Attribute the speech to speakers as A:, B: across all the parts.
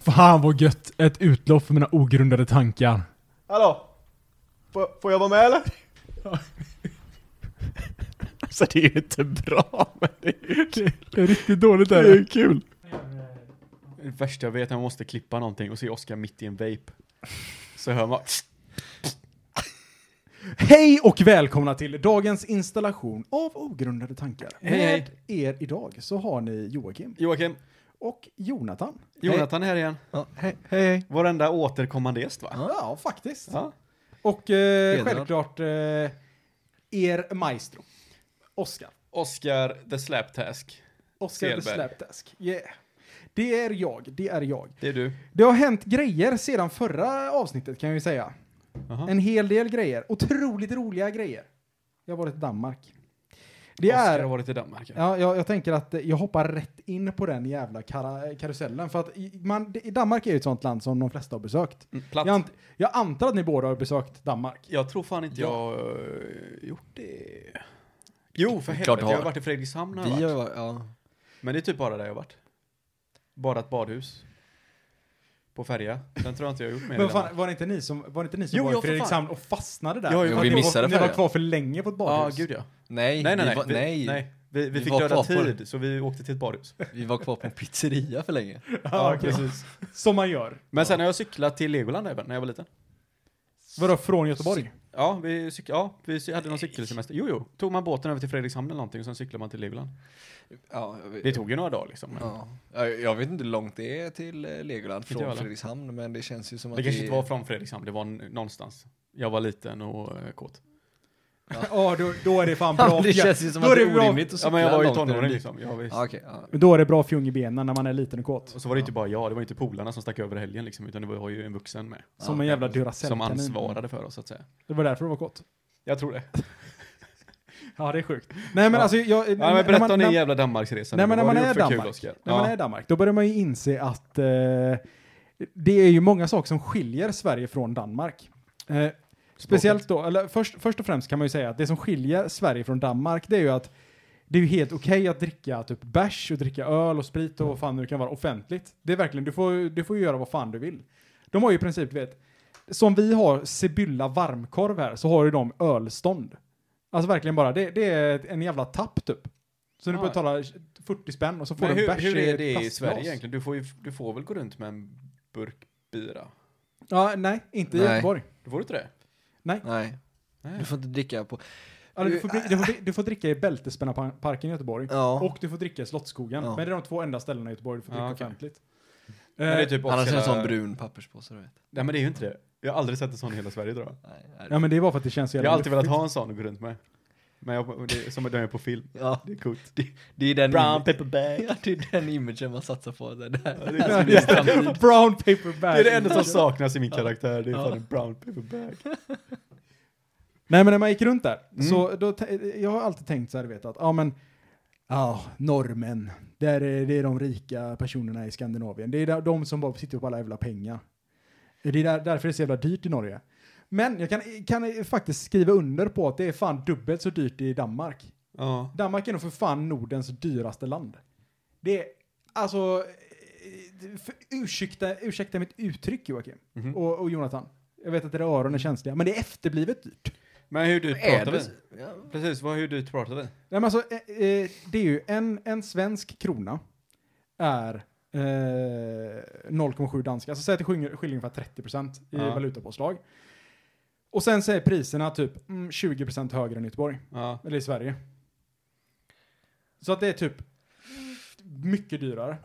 A: Fan vad gött! Ett utlopp för mina ogrundade tankar.
B: Hallå? Får, får jag vara med eller?
C: Alltså det är ju inte bra, men det är ju kul.
A: Det är riktigt dåligt
C: Det
A: där.
C: är ju kul. Det värsta jag vet är att man måste klippa någonting och se Oskar mitt i en vape. Så hör man...
A: Hej och välkomna till dagens installation av ogrundade tankar.
C: Hej,
A: Med er idag så har ni Joakim
C: Joakim,
A: och Jonathan.
C: Jonathan är här igen.
D: Ja, hej, hej, hej.
C: Vår enda återkommande gäst va?
A: Ja, faktiskt.
C: Ja.
A: Och eh, självklart eh, er maestro. Oskar.
C: Oskar the Slaptask.
A: Oskar the
C: Selberg.
A: Slapdesk. Yeah. Det är jag, det är jag.
C: Det är du.
A: Det har hänt grejer sedan förra avsnittet kan jag ju säga.
C: Aha.
A: En hel del grejer. Otroligt roliga grejer. Jag har varit i Danmark. Det
C: Oskar
A: är...
C: har varit i Danmark. Ja.
A: Ja, jag, jag tänker att eh, jag hoppar rätt in på den jävla kara, karusellen. För att i- man, det, Danmark är ju ett sånt land som de flesta har besökt.
C: Mm,
A: Jag,
C: Platt.
A: ant, jag antar att ni båda har besökt Danmark.
C: Jag tror fan inte jag eh, gjort det. Jo, för
D: Klart
C: helvete.
D: du har.
C: Jag har varit i Fredrikshamn har jag
D: Vi
C: varit.
D: har varit, ja.
C: Men det är typ bara där jag har varit. Badat badhus. På färja. Den tror jag inte jag har gjort mer
A: Men
C: i Danmark.
A: fan, var det inte ni som var, det inte ni som
C: Jo,
A: var i
C: ja, för fan.
A: Fredrikshamn och fastnade där?
C: Jo, jo,
A: För att
D: vi
A: ni var-
D: missade
A: Ni var
D: färjan.
A: kvar för länge på ett
C: Ja, ah,
A: badhus.
C: gud ja.
D: Nej,
C: Nej, nej,
D: vi
C: nej.
D: var,
C: vi,
D: nej.
C: nej. Vi, vi,
D: Vi
C: fick
D: var
C: döda
D: kvar på-
C: tid, så vi åkte till ett badhus.
D: Vi var kvar på en pizzeria för länge.
A: Ja, okej. Som man gör.
C: Men sen har jag cyklat till Legoland även, när jag var liten.
A: Vadå, från Göteborg?
C: Ja, vi, cyk- ja, vi cy- hade någon cykelsemester. Jo, jo. Tog man båten över till Fredrikshamn eller någonting och sen cyklade man till Legoland.
D: Ja, jag vet-
C: Det tog ju några dagar liksom. Men
D: Ja. Ja, Jag vet inte hur långt det är till eh, Legoland
C: jag
D: från
C: heller.
D: Fredrikshamn, men det känns ju som att
C: Det kanske inte var från Fredrikshamn, det var n- någonstans. Jag var liten och eh, kåt.
A: Ja, då, då är det fan bra.
D: Ja, det
A: fjär-
D: känns ju som
A: då
D: att det
A: är det
D: är
A: bra-
D: orimligt att
C: Ja,
D: cykla
C: men jag var ju
D: långt när du är
C: tonåring
D: liten.
C: liksom. Jag, visst.
D: Ja, okej. ja.
A: Då är det bra fjong i benen när man är liten och kåt.
C: Och så var det inte bara jag, det var inte polarna som stack över helgen liksom, utan det var ju en vuxen med.
A: Som
D: Ja,
A: en jävla
D: okej.
C: Som
A: Duracell-kanin.
C: ansvarade för oss så att säga.
A: Det var därför det var kåt.
C: Jag tror det.
A: Ja, det är sjukt. Nej, men
C: Ja.
A: alltså, jag...
C: Ja, men
A: när
C: berätta
A: man-
C: om din
A: när-
C: jävla Danmarksresa.
A: Nej,
C: nu.
A: men när man
C: Vad har du
A: är
C: gjort
A: i
C: för kul,
A: Danmark,
C: Oskar?
A: när man
C: Ja.
A: är i Danmark, då börjar man ju inse att eh, det är ju många saker som skiljer Sverige från Danmark. Eh, speciellt då, eller först, först och främst kan man ju säga att det som skiljer Sverige från Danmark, det är ju att det är ju helt okej att dricka typ bärs och dricka öl och sprit och vad fan nu kan vara offentligt. Det är verkligen, du får, du får ju göra vad fan du vill. De har ju i princip, du vet, som vi har Sibylla varmkorv här, så har ju de ölstånd. Alltså verkligen bara, det, det är en jävla tapp typ. Så du
C: Ja.
A: betalar 40 spänn och så får
C: Men
A: du en
C: hur,
A: bärs
C: hur
A: i
C: är
A: ett
C: det i
A: plastglas.
C: Sverige egentligen? Du får, ju, du får väl gå runt med en burk bira?
A: Ja, nej, inte i
D: Nej.
A: Göteborg.
C: Du får inte det?
D: Nej,
C: Nej.
D: du får inte dricka på...
A: Alltså, du, får, bli- du, får, bli- du får dricka i Bältespännarparken i Göteborg.
D: Ja.
A: Och du får dricka i Slottsskogen.
D: Ja.
A: Men det är de två enda ställena i Göteborg du får
C: Ja,
A: dricka
C: okej.
A: offentligt.
C: Men det är
A: Eh,
C: typ
D: Annars är det en
C: Oskar-
D: sån brun papperspåse, du vet.
C: Nej men det är ju inte det. Jag har aldrig sett en sån i hela Sverige tror jag.
D: Nej, nej.
A: Ja men det var för att det känns så
C: Jag
A: jävla
C: har alltid velat
A: luftigt.
C: ha en sån att gå runt med. Men jag, det är som att den är på film.
D: Ja,
C: Det är coolt.
D: det är den...
C: Brown
D: imi-
C: paper bag.
D: Ja, det är den imagen man satsar på. Det där.
C: det är-
D: Alltså, det är framtid.
A: Brown paper bag.
C: Det är det enda som saknas i min karaktär, det är fan en brown paper bag.
A: Nej men när man gick runt där,
C: Mm.
A: så då, te- jag har alltid tänkt så här, du vet att, ja men, ja, norrmän, där är, det är de rika personerna i Skandinavien. Det är där, de som bara sitter på alla jävla pengar. Det är där, därför det är så jävla dyrt i Norge. Men jag kan, kan faktiskt skriva under på att det är fan dubbelt så dyrt i Danmark.
C: Ja.
A: Danmark är nog för fan Nordens dyraste land. Det är, alltså, eh, för, ursäkta, ursäkta mitt uttryck Joakim
C: Mhm.
A: och, och Jonathan. Jag vet att era öron är känsliga, men det är efterblivet dyrt.
C: Men hur dyrt pratar vi?
D: Ja.
C: Precis, vad, hur dyrt pratar vi?
A: Nej, men alltså, eh, eh, det är ju en, en svensk krona är eh, 0,7 danska. Alltså säg att det skiljer skiljer ungefär 30% i
C: Ja.
A: valutapåslag. Och sen så är priserna typ mm, 20% högre än i Göteborg,
C: Ja.
A: eller i Sverige. Så att det är typ mycket dyrare.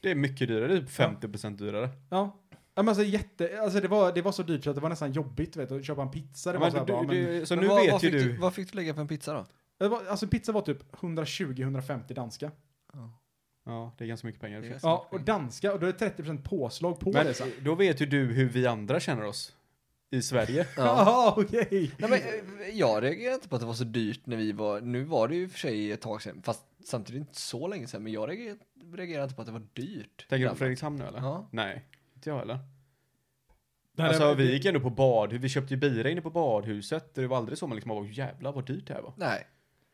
C: Det är mycket dyrare, det är typ 50% dyrare.
A: Ja. Ja, men Alltså, jätte, alltså det, var, det var så dyrt så att det var nästan jobbigt vet, du, att köpa en pizza. Det var
C: Men
A: så här,
C: du-
A: bara, men,
C: du- så
D: Men
C: nu
D: vad,
C: vet
D: vad
C: ju
D: fick
C: du...
D: Vad fick du lägga för en pizza då?
A: det var, alltså pizza var typ 120-150 danska.
C: Ja, det är ganska mycket pengar.
D: Det är-
A: Ja, och danska, och då är det 30% påslag på
C: Liksom. Men
A: det. Så. här.
C: då vet ju du hur vi andra känner oss. I Sverige.
D: Ja.
A: Jaha, okej.
D: Nej, men, eh, jag reagerade inte på att det var så dyrt när vi var, nu var det ju i och för sig ett tag sedan, fast samtidigt inte så länge sedan, men jag reagerade, reagerade inte på att det var dyrt.
C: Tänker du på
D: Danmark.
C: Fredrikshamn nu eller?
D: Ja.
C: Nej, inte jag heller.
A: Nej,
C: alltså
A: nej,
C: vi
A: det-
C: gick ändå på badhus, vi köpte ju bira inne på badhuset. Det var aldrig så man liksom bara, "Åh, jävlar vad dyrt det här var.
D: Nej.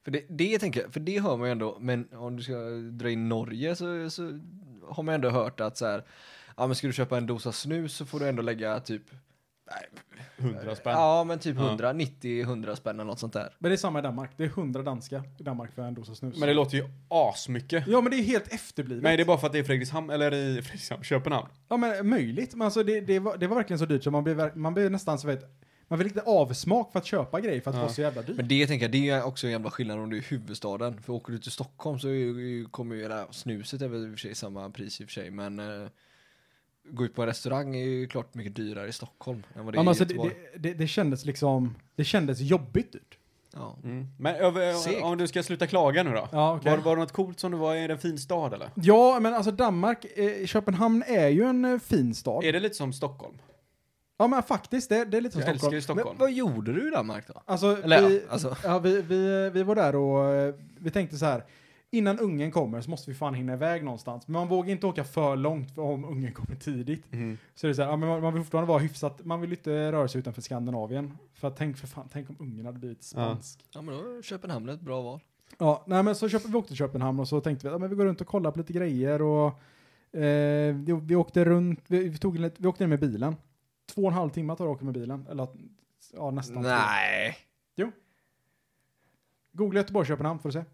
D: För det, det tänker jag, för det hör man ju ändå, men om du ska dra in Norge så, så har man ändå hört att så här, ja men ska du köpa en dosa snus så får du ändå lägga typ,
C: 100 spänn.
D: ja men typ
C: Ja.
D: 100, 90, 100 spänn eller något sånt där.
A: Men det är samma i Danmark. Det är 100 danska i Danmark för en dosa snus.
C: Men det låter ju asmycket.
A: Ja, men det är helt efterblivet.
C: Nej, det är bara för att det är Fredrikshamn, eller i Fredrikshamn, Köpenhamn.
A: Ja, men möjligt. Men alltså, det, det, var, det var verkligen så dyrt så man blev, verk- man blev nästan så vet, man fick lite avsmak för att köpa grejer för att det
C: Ja.
A: var så jävla dyrt.
D: Men det tänker jag, det är också en jävla skillnad om du är i huvudstaden. För åker du till Stockholm så är ju- kommer ju, eller snuset är väl i och för sig samma pris i och för sig, men eh, gå ut på en restaurang är ju klart mycket dyrare i Stockholm än vad det
A: ja, men
D: är i
A: alltså, det,
D: Göteborg.
A: det, det, det kändes liksom, det kändes jobbigt dyrt.
D: Ja.
C: Men över,
D: Segt.
C: om du ska sluta klaga nu då.
A: Ja, okej.
C: Var, var det något coolt som du var i en fin stad eller?
A: Ja, men alltså Danmark, eh, Köpenhamn är ju en eh, fin stad.
C: Är det lite som Stockholm?
A: Ja, men faktiskt, det, det är lite som
C: Jag älskar
A: Stockholm.
C: ju Stockholm.
D: Men vad gjorde du i Danmark då?
A: Alltså,
D: Eller,
A: vi,
D: ja, alltså.
A: Ja, vi, vi, vi var där och eh, vi tänkte så här. Innan ungen kommer så måste vi fan hinna iväg någonstans. Men man vågar inte åka för långt för om ungen kommer tidigt.
C: Mhm.
A: Så det är så här, ja, men man, man vill fortfarande vara hyfsat, man vill inte röra sig utanför Skandinavien. För att tänk, för fan, tänk om ungen hade blivit spansk. Ja.
D: Ja men då är Köpenhamn ett bra val.
A: nej men så köp, vi åkte till Köpenhamn och så tänkte vi, ja men vi går runt och kollar på lite grejer och eh, vi, vi åkte runt, vi, vi, tog, lite- vi åkte ner med bilen. Två och en halv timme tar det att åka med bilen. Eller att- ja, nästan. tre.
D: Nej.
A: Googla Göteborg, Köpenhamn får du se.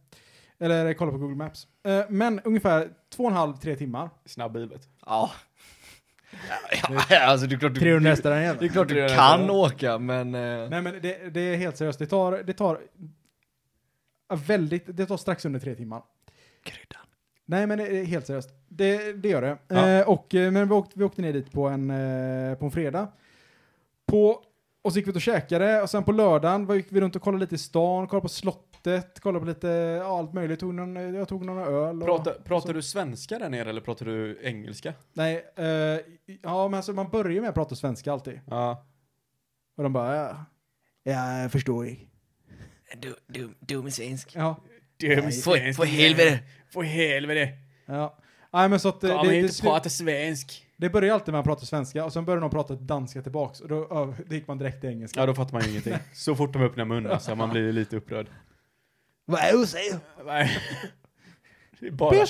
A: Eller kolla på Google Maps. Eh, Men ungefär två och en halv, tre timmar.
C: Snabbgivet.
D: Ja. Ja, ja, alltså det är klart du,
A: hästar den
D: det är klart du
C: 300
D: kan
C: hästar.
D: åka men... eh,
A: Nej men det, det är helt seriöst, det tar, det tar ja, väldigt, det tar strax under tre timmar.
D: Kryddan.
A: Nej men det är helt seriöst, det, det gör det.
C: Ja.
A: Eh, och, eh, men vi åkte, vi åkte ner dit på en, eh, på en fredag. På, och så gick vi ut och käkade och sen på lördagen var- gick vi runt och kollade lite i stan, kollade på slottet, kollade på lite, ja, allt möjligt. Tog någon, jag tog några öl. och-
C: Pratar, pratar du svenska där nere eller pratar du engelska?
A: Nej, eh, ja men alltså man börjar ju med att prata svenska alltid.
C: Ja.
A: Och de bara, ja, ja jag förstår ju.
D: Du, du, du med svensk.
A: Ja,
C: Dum
D: För, för helvete.
C: För helvete.
A: ja. Nej men så att eh,
C: Kom
A: det, det,
C: hit och
A: slu-
C: prata svensk.
A: det börjar alltid med att prata svenska och sen börjar de prata danska tillbaks och då, ö, då gick man direkt till engelska.
C: Ja, då fattar man ju ingenting. Så fort de öppnar munnen, alltså, man blir ju lite upprörd.
D: Vad är det du säger?
C: Nej. Det är bara,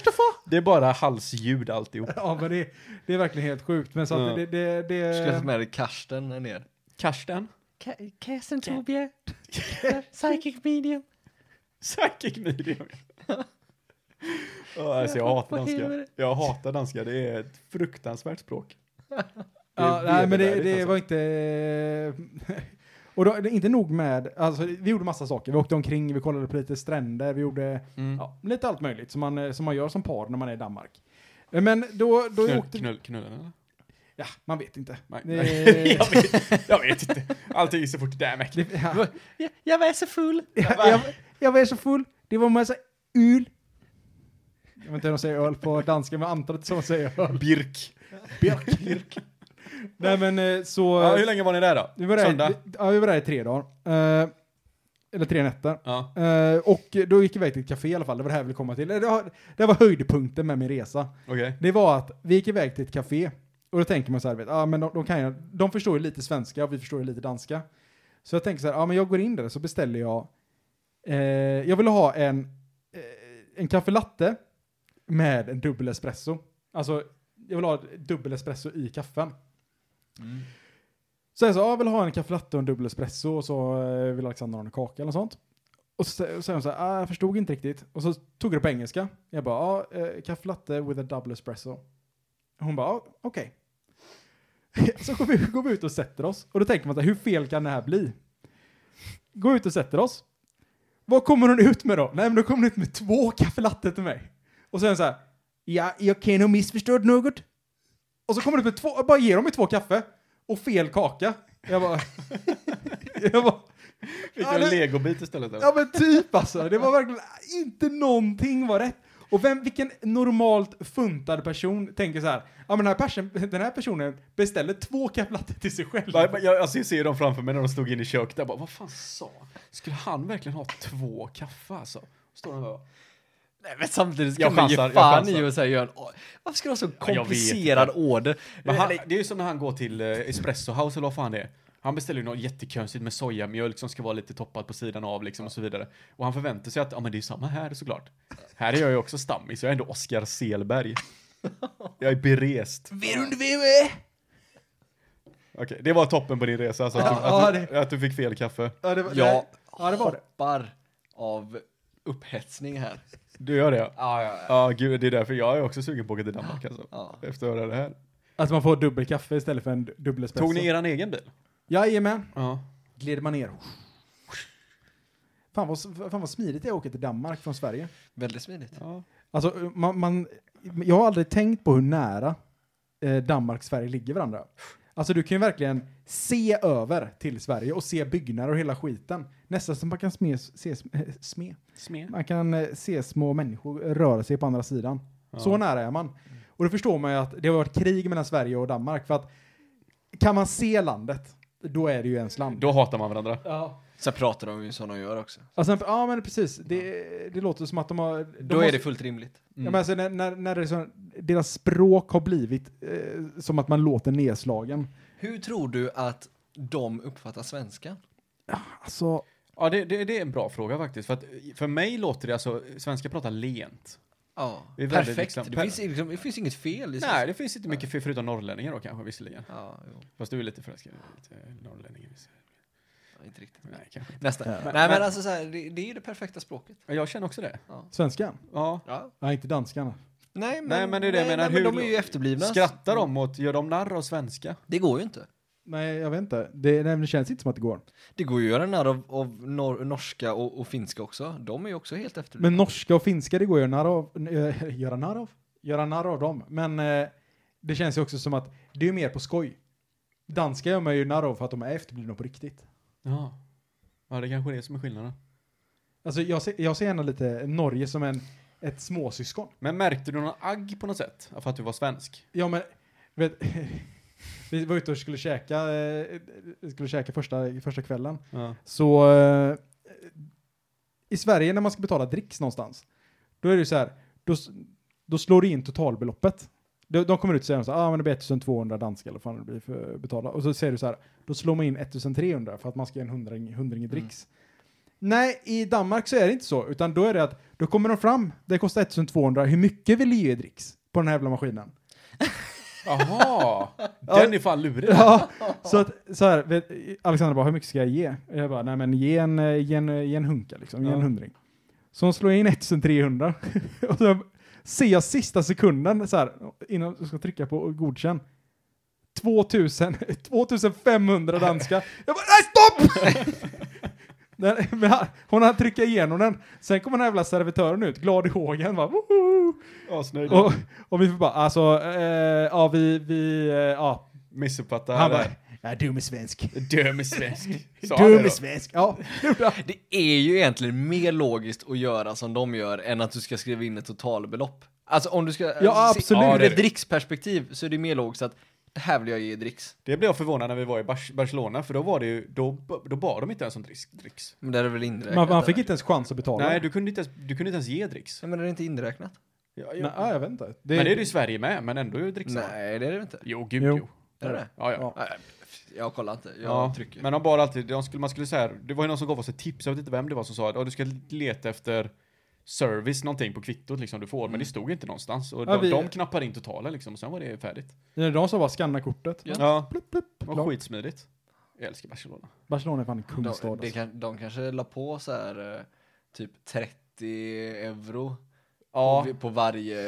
C: det är bara halsljud alltihop.
A: Ja men det, det är verkligen helt sjukt. Men så att
C: Ja.
A: det, det, det,
D: Jag skulle ha fått med dig Karsten här ner.
C: Karsten?
E: Kirsten Tobier, psychic medium.
C: Psychic medium. Ja, alltså, jag hatar danska. Jag hatar danska, det är ett fruktansvärt språk. Det är
A: ja, nej men det,
C: vedervärdigt,
A: det
C: alltså.
A: var inte... eh, och då, det är inte nog med, alltså vi gjorde massa saker. Vi åkte omkring, vi kollade på lite stränder, vi gjorde
C: Mm.
A: ja, lite allt möjligt som man, eh, som man gör som par när man är i Danmark. Eh, Men då, då
C: Knull,
A: åkte...
C: knull, knullen eller?
A: Ja, man vet inte.
C: Nej.
A: Det-
C: nej. jag, vet, jag vet inte. Allting är så fort det är mäktigt.
A: Det, ja.
E: Jag, jag var så full.
A: jag, jag, jag var så full, det var massa öl. Jag vet inte hur de säger öl på danska, men jag antar att de säger öl.
C: Birk. Birk. Birk.
A: Nej men eh, så...
C: Ja, hur länge var ni där då?
A: vi, var där,
C: Söndag?
A: vi, ja, vi var där i tre dagar. Eh, eller tre nätter.
C: Ja.
A: Eh, och då gick vi iväg till ett café i alla fall, det var det här jag ville komma till. Eh, Det var, det var höjdpunkten med min resa.
C: Okej.
A: Det var att vi gick iväg till ett café och då tänker man så här, vet, ah, men de, de, kan ju, de förstår ju lite svenska och vi förstår ju lite danska. Så jag tänker så här, ja ah, men jag går in där så beställer jag, eh, jag vill ha en, eh, en kaffe latte med en dubbel espresso. Alltså, jag vill ha dubbel espresso i kaffen. Så jag sa, ah, jag vill ha en kaffe latte och en dubbel espresso och så eh, vill Alexander ha en kaka eller sånt. Och så sä- och så säger hon så här, ah, jag förstod inte riktigt. Och så tog jag det på engelska. Jag bara, ah, eh, kaffe latte with a double espresso. Hon bara, ah, okej. så går vi, går vi ut och sätter oss. Och då tänker man så här, hur fel kan det här bli? Går ut och sätter oss. Vad kommer hon ut med då? Nej, men då kommer hon ut med två kaffe latte till mig. Och sen så här, ja, jag kan ha missförstått något. Och så kommer det ut med två, jag bara ger dem mig två kaffe och fel kaka. Jag bara, jag bara,
C: Fick
A: Ja,
C: du en
A: det-
C: legobit istället eller?
A: Ja men typ alltså, det var verkligen, inte någonting var rätt. Och vem, vilken normalt funtad person tänker så här, ja men den här, person, den här personen beställer två kaffe latte till sig själv.
C: Va- va- Jag, alltså, jag ser dem framför mig när de stod inne i köket där bara, vad fan sa han? Skulle han verkligen ha två kaffe alltså? Står han där och bara,
D: Nej men samtidigt ska
C: Jag
D: man ge
C: chansar, jag
D: fan
C: chansar.
D: i och säga göra en... Varför ska du ha så
C: jag vet
D: komplicerad order?
C: men han,
D: Eller-
C: det är ju som när han går till eh, Espresso House eller vad fan det är. Han beställer ju något jättekonstigt med sojamjölk som ska vara lite toppat på sidan av liksom och så vidare. Och han förväntar sig att, ja men det är ju samma här såklart. Här är jag ju också stammis, jag är ändå Oscar Selberg. Jag är berest. Okej, det var toppen på din resa alltså. Att,
D: Ja,
C: du, att, du, att du fick fel kaffe.
A: Ja, det var,
D: Jag
A: ja, det var det.
D: hoppar av upphetsning här.
C: Du gör det? Ja,
D: Ja, ja, ja.
C: ah, gud, det är därför jag är också sugen på att åka till Danmark alltså.
D: Ja.
C: Efter att höra det här.
A: Att man får dubbel kaffe istället för en dubbel espresso.
C: Tog ni eran egen bil?
A: Jajamän.
C: Ja.
A: Glider man ner. Fan vad, fan vad smidigt det är att åka till Danmark från Sverige.
D: Väldigt smidigt.
C: ja.
A: Alltså, man, man, jag har aldrig tänkt på hur nära eh, Danmark och Sverige ligger varandra. Alltså du kan ju verkligen se över till Sverige och se byggnader och hela skiten. Nästan som man kan sme, se, eh, sme.
C: Smed.
A: Man kan eh, se små människor röra sig på andra sidan. Så nära är man. Och då förstår man ju att det har varit krig mellan Sverige och Danmark för att kan man se landet, då är det ju ens land.
C: Då hatar man varandra.
A: Ja.
D: Sen pratar de ju som de gör också.
A: Alltså, ja men precis, det, det låter som att de har... De
D: Då är det fullt rimligt.
A: Ja, men alltså, när, när, när det är så, deras språk har blivit eh, som att man låter nedslagen.
D: Hur tror du att de uppfattar svenskan?
A: Alltså,
C: Ja, det, det, det är en bra fråga faktiskt. För, att, för mig låter det alltså, svenskar pratar lent.
D: Ja,
C: Det är väldigt
D: perfekt.
C: liksom-
D: det, finns, liksom, det finns inget fel i
C: Nej,
D: svenskan.
C: det finns inte mycket för, förutom norrlänningar då kanske visserligen.
D: Ja, jo,
C: Fast du är lite förälskad lite norrlänningar.
D: inte riktigt.
C: Nej, kanske.
D: Nästa. Nej, men
C: men-
D: alltså så här, det, det är ju det perfekta språket.
C: Ja, Jag känner också det.
A: svenskan?
C: Ja.
D: Ja.
A: Nej, inte danskan.
D: Nej, men,
C: Nej, men det är det jag
D: nej,
C: menar.
D: nej, men
C: Hur-
D: de är ju efterblivna.
C: Skrattar de åt, gör de narr av svenska?
D: Det går ju inte.
A: Nej, jag vet inte. Det, nej, men det känns inte som att det går.
D: Det går ju att göra narr av, av nor norska och, och finska också. De är ju också helt efterblivna.
A: Men norska och finska, det går att göra narr av. eh, Göra narr av? Göra narr av dem. Men eh, det känns ju också som att det är mer på skoj. Danska gör man ju narr av för att de är efterblivna på riktigt.
C: Ja. Ja, det kanske är det som är skillnaden.
A: Alltså, jag, ser- jag ser gärna lite Norge som en, ett småsyskon.
C: Men märkte du någon agg på något sätt? För att du var svensk?
A: Ja men, vet, vi var ute och skulle käka, eh, skulle käka första, första kvällen.
C: Ja.
A: Så eh, i Sverige när man ska betala dricks någonstans, då är det ju så här, då, s- då slår det in totalbeloppet. De, de kommer ut och säger så här, ah, men det blir 1200 danska eller vad fan det blir för att betala. Och så säger du så här, då slår man in 1300 för att man ska ge en hundring, hundring i dricks. Nej, i Danmark så är det inte så, utan då är det att då kommer de fram, det kostar 1200, hur mycket vill du ge i dricks på den här jävla maskinen?
C: Jaha! Den är fan lurig.
A: Ja, så att så här, vet, Alexander bara, hur mycket ska jag ge? Jag bara, nej men ge en, eh, ge en, eh, ge en hunka liksom, ge en
C: Ja.
A: hundring. Så hon slår in 1300 och så ser jag sista sekunden så här, innan jag ska trycka på godkänn. 2000, 2500 danska. Jag bara, nej stopp! Den, men han- hon har tryckt igenom den. Sen kommer den här jävla servitören ut, glad i hågen. Bara, woho!
C: Asnöjd.
A: och, och vi får bara, alltså, eh, ja vi, vi, eh, ja,
C: Missuppfattar.
A: han bara, jag är dum i svensk.
C: Döm är svensk. Sa han det
A: Dum
C: då?
A: i svensk. Ja, det gjorde han.
D: Det är ju egentligen mer logiskt att göra som de gör än att du ska skriva in ett totalbelopp. Alltså om du ska...
A: Ja,
D: alltså, se-
A: absolut.
C: Ja,
D: Ur
C: det är
D: ett
C: det.
D: dricksperspektiv så är det mer logiskt att det här vill jag ge i dricks.
C: Det blev jag förvånad när vi var i Bar- Barcelona, för då var det ju, då, då bar de inte ens om dricks. dricks.
D: Men det är väl inräknat?
A: Man, man
D: eller?
A: fick inte ens chans att betala.
C: Nej, du kunde inte ens, du kunde inte ens ge dricks.
D: Nej, men är det inte inräknat?
C: Ja,
A: Nej, ja, jag vet inte. Det,
C: Men det är det i Sverige med, men ändå är det dricks.
D: Nej, det är det inte.
C: Jo, gud
A: Jo.
C: jo.
D: Är det det?
C: Ja,
A: Ja.
C: ja.
D: Nej, jag kollar inte. Jag
C: ja.
D: trycker.
C: Men de bar alltid, de skulle, man skulle säga, det var ju någon som gav oss ett tips, jag vet inte vem det var som sa att "Ja, du ska leta efter service någonting på kvittot liksom du får, men det stod inte någonstans. Och
A: Ja,
C: de,
A: vi-
C: de knappade in totalen liksom, och sen var det färdigt.
A: det, de som bara skanna kortet.
D: Ja.
C: Ja,
A: Plupp, plupp,
C: det var
A: klart.
C: skitsmidigt. Jag älskar Barcelona.
A: Barcelona är fan en
D: de,
A: kungsstad.
D: det
A: alltså.
D: kan, de kanske la på så här eh, typ 30 euro
C: Ja,
D: på, på varje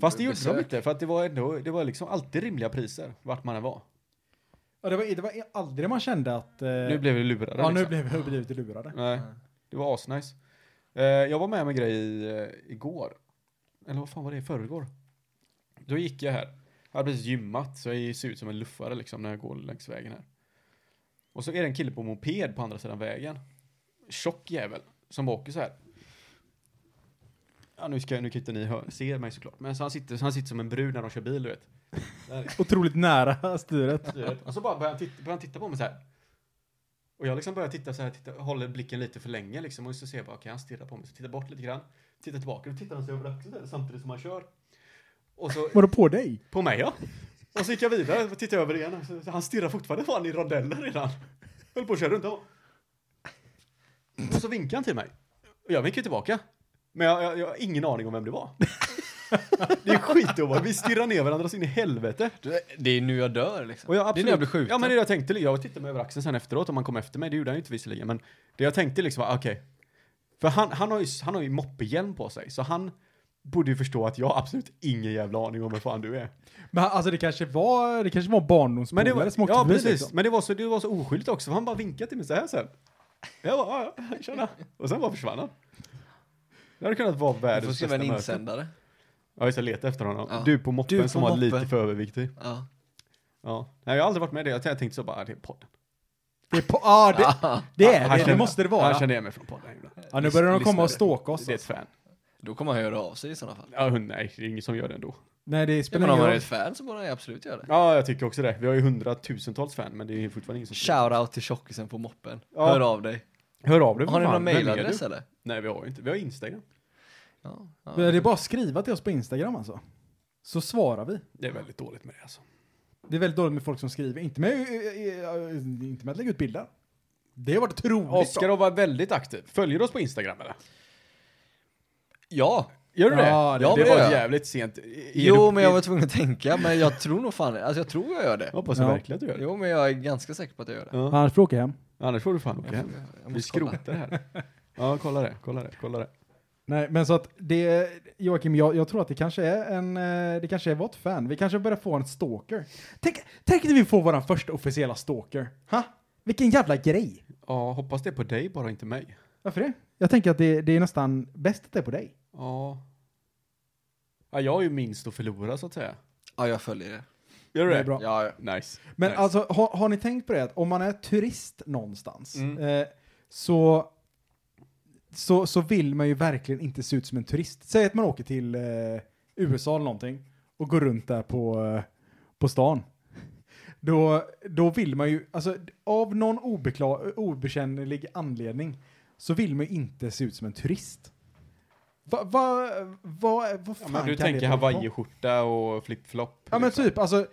C: fast det gjorde
D: besök.
C: de inte, för att det var ändå, det var liksom alltid rimliga priser, vart man än var.
A: Ja, det, var, det var aldrig man kände att... eh,
C: Nu blev vi lurade
A: ja, nu
C: liksom.
A: blev vi blivit lurade.
C: Nej, det var asnice. Eh, jag var med om en grej i, eh, igår. Eller vad fan var det? I förrgår. Då gick jag här. Jag hade precis gymmat så jag ser ut som en luffare liksom när jag går längs vägen här. Och så är det en kille på moped på andra sidan vägen. Tjock jävel som åker så här. Ja, nu, ska, nu kan inte ni hör, se mig såklart. Men så han, sitter, så han sitter som en brud när de kör bil, du vet. Där.
A: Otroligt nära styret.
C: Styret. Och så bara börjar han, titta, börjar han titta på mig så här. Och jag liksom börjar titta så här, titta, håller blicken lite för länge liksom. Och så ser jag bara, okej han stirrar på mig. Så tittar bort lite grann. Tittar tillbaka, och tittar han sig över axeln där, samtidigt som han kör. Och så,
A: Var det på dig?
C: på mig ja. Och så gick jag vidare, och tittade över igen. Så- så Han stirrar fortfarande fan i rondeller redan. Höll på att köra runt om. Och så vinkade han till mig. Och jag vinkade tillbaka. Men jag, jag, jag har ingen aning om vem det var. Det är skitovanligt. Vi stirrar ner varandra så in i helvete.
D: Det är nu jag dör liksom.
C: Och jag,
D: Det är
C: absolut,
D: när jag blir skjuten.
C: Ja men det jag tänkte, jag tittade mig över axeln sen efteråt om han kom efter mig, det gjorde han ju inte visserligen, men det jag tänkte liksom var okej. För han, han har ju, han har ju moppehjälm på sig, så han borde ju förstå att jag har absolut ingen jävla aning om vem fan du är.
A: Men han- alltså det kanske var, det kanske var
C: Men det
A: barndomspolare
C: var,
A: som åkte
C: ja,
A: förbi,
C: precis.
A: liksom.
C: Men det var, så, det var så oskyldigt också, för han bara vinkade till mig så här sen. Jag bara, ja, ja, tjena. Och sen bara försvann han. Det hade kunnat vara
D: Jag får
C: världens
D: skriva
C: bästa
D: en
C: möte.
D: insändare.
C: Ja, just det, leta efter honom.
D: Ja.
C: Du på moppen
D: Du på
C: som var lite
D: moppen.
C: för överviktig.
D: Ja.
C: Ja. Nej, jag har aldrig varit med i det. Jag tänkte så bara, ah, det är podden.
A: Det är på, ja, det, det är det. Det måste det
C: Jag
A: vara.
C: känner igen mig från podden ibland.
A: Ja, nu börjar de komma och
C: lyssnare.
A: stalka oss. alltså.
C: Det är ett fan.
D: Då kommer han höra av sig i sådana fall.
C: Ja, hon- nej, det är ingen som gör det ändå.
A: Nej, det
D: Ja,
A: spelar
D: men om
A: ingen
D: han är
A: roll.
D: ett fan så borde han ju absolut göra det.
C: Ja, jag tycker också det. Vi har ju hundratusentals fan, men det är fortfarande ingen som
D: Shoutout till tjockisen på moppen.
C: Ja.
D: Hör av dig.
C: Hör av dig. för
D: Har ni
C: fan.
D: någon
C: Vem är
D: mailadress
C: du?
D: eller?
C: Nej, vi har ju inte. Vi har Instagram.
D: Ja, ja.
A: Det är bara att skriva till oss på Instagram alltså. Så svarar vi.
C: Det är väldigt dåligt med det alltså.
A: Det är väldigt dåligt med folk som skriver. Inte med, eh, eh, eh, inte med att lägga ut bilder. Det har varit otroligt
C: Oskar
A: bra.
C: har varit väldigt aktiv. Följer du oss på Instagram eller?
D: ja.
C: Gör du det?
A: Ja, det-
C: ja, det
D: det
C: var
D: gör jag.
C: jävligt sent. Är
D: Jo,
C: du-
D: men jag var tvungen att tänka. Men jag tror nog fan Alltså jag tror jag gör det.
C: Jag hoppas jag
A: Ja.
C: verkligen att du gör det.
D: Jo, men jag är ganska säker på att jag gör det.
C: Ja.
A: Annars får jag åka hem.
C: Annars får du fan åka
D: Jag,
C: hem.
D: får- jag
C: Vi
D: måste kolla.
C: skrotar det här. Ja, kolla det. Kolla det. Kolla det.
A: Nej, men så att det, Joakim, jag, jag tror att det kanske är en, eh, det kanske är vårt fan. Vi kanske börjar få en stalker. Tänk, tänk när vi får vår första officiella stalker. Ha? Vilken jävla grej.
C: Ja, hoppas det är på dig, bara inte mig.
A: Varför det? Jag tänker att det, det är nästan bäst att det är på dig.
C: Ja. ja. Jag har ju minst att förlora så att säga.
D: Ja, jag följer det.
C: Gör du
A: Det
C: det?
A: är bra.
D: Ja, ja.
C: Nice.
A: Men
C: nice.
A: alltså, har, har ni tänkt på det att om man är turist någonstans
C: Mm.
A: eh, så, så, så vill man ju verkligen inte se ut som en turist. Säg att man åker till eh, USA eller någonting och går runt där på, eh, på stan. Då, då vill man ju, alltså av någon obekla- obekännlig anledning så vill man ju inte se ut som en turist. Vad va, va, vad
C: Ja,
A: fan
C: men du
A: kan
C: tänker
A: det bero på?
C: hawaiiskjorta och flip-flop.
A: Ja men
C: liksom.
A: typ, alltså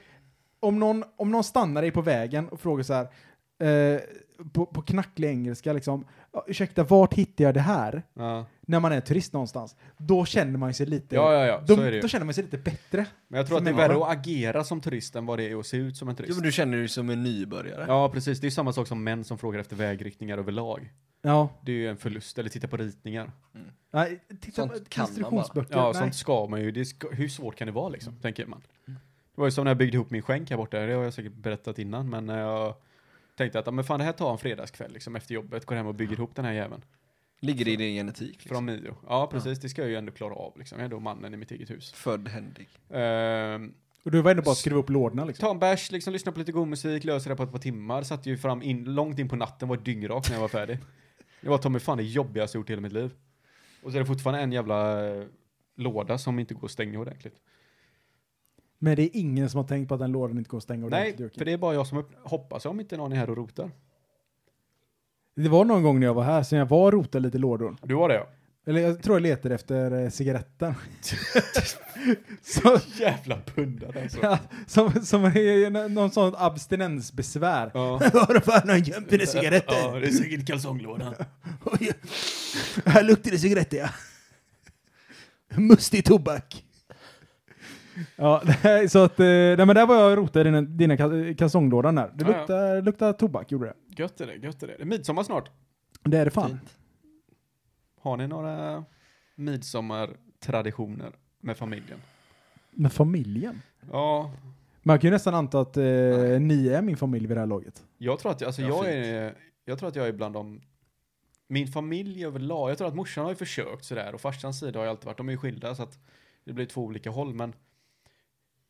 A: om någon, om någon stannar dig på vägen och frågar så här eh, på, på knacklig engelska liksom, "Ja, ursäkta vart hittar jag det här?
C: Ja,
A: När man är turist någonstans, då känner man sig lite,
C: ja, ja, ja.
A: då,
C: så är det ju.
A: då känner man sig lite bättre.
C: Men jag tror att
A: som
C: det är
A: människa.
C: värre att agera som turist än vad det är att se ut som en
D: Jo,
C: turist.
D: men du känner dig som en nybörjare.
C: Ja, precis. Det är samma sak som män som frågar efter vägriktningar överlag.
A: Ja,
C: Det är ju en förlust. Eller titta på ritningar.
A: nej, titta
D: Sånt
A: på
D: kan man
A: instruktionsböcker.
C: Ja,
A: nej.
C: sånt ska man ju. Det ska, hur svårt kan det vara liksom, tänker man. Det var ju som när jag byggde ihop min skänk här borta. Det har jag säkert berättat innan, men när jag tänkte att ja, men fan, det här tar en fredagskväll liksom, efter jobbet. Går hem och bygger ihop den här jäveln.
D: Ligger det i din genetik? Liksom.
C: Från Mio. Ja, precis. Det ska jag ju ändå klara av liksom. Jag är då mannen i mitt eget hus.
D: Född händig.
C: Ehm,
A: Och du var ändå bara att skriva upp lådorna liksom.
C: Ta en bärs, liksom, lyssna på lite god musik, lösa det på ett par timmar. Satt ju fram in, långt in på natten, var dyngrak när jag var färdig. Det var Tommy fan det jobbigaste jag gjort i hela mitt liv. Och så är det fortfarande en jävla eh, låda som inte går att stänga ordentligt.
A: Men det är ingen som har tänkt på att den lådan inte går att stänga
C: Nej,
A: ordentligt.
C: för
A: Joakim.
C: det är bara jag som öppnar. Hoppas jag om inte någon är här och rotar.
A: Det var någon gång när jag var här som jag var och rotade lite i lådor.
C: Du var det ja.
A: Eller jag tror jag letade efter eh, cigaretten. så,
C: Jävla pundad alltså.
A: Ja, som, som är någon sån abstinensbesvär.
C: Ja.
A: Var det fan någon gömt mina
C: ja, det är säkert kalsonglådan.
A: Oj, Här luktar det cigaretter ja. Mustig tobak. Ja, nej, så att, eh, nej men där var jag och rotade i dina, dina ka- kalsonglådan där. Det
C: Ja, ja.
A: luktar, luktar tobak gjorde det.
C: Gött är det, gött är det. Det är midsommar snart.
A: Det är det fan.
D: Fint.
C: Har ni några midsommartraditioner med familjen?
A: Med familjen.
C: Ja,
A: Man kan ju nästan anta att eh, ni är min familj vid det här laget.
C: Jag tror att, alltså,
D: Ja,
C: jag,
D: fint.
C: är, jag tror att jag är bland de Min familj överlag, jag tror att morsan har ju försökt sådär och farsans sida har ju alltid varit, de är ju skilda så att det blir två olika håll men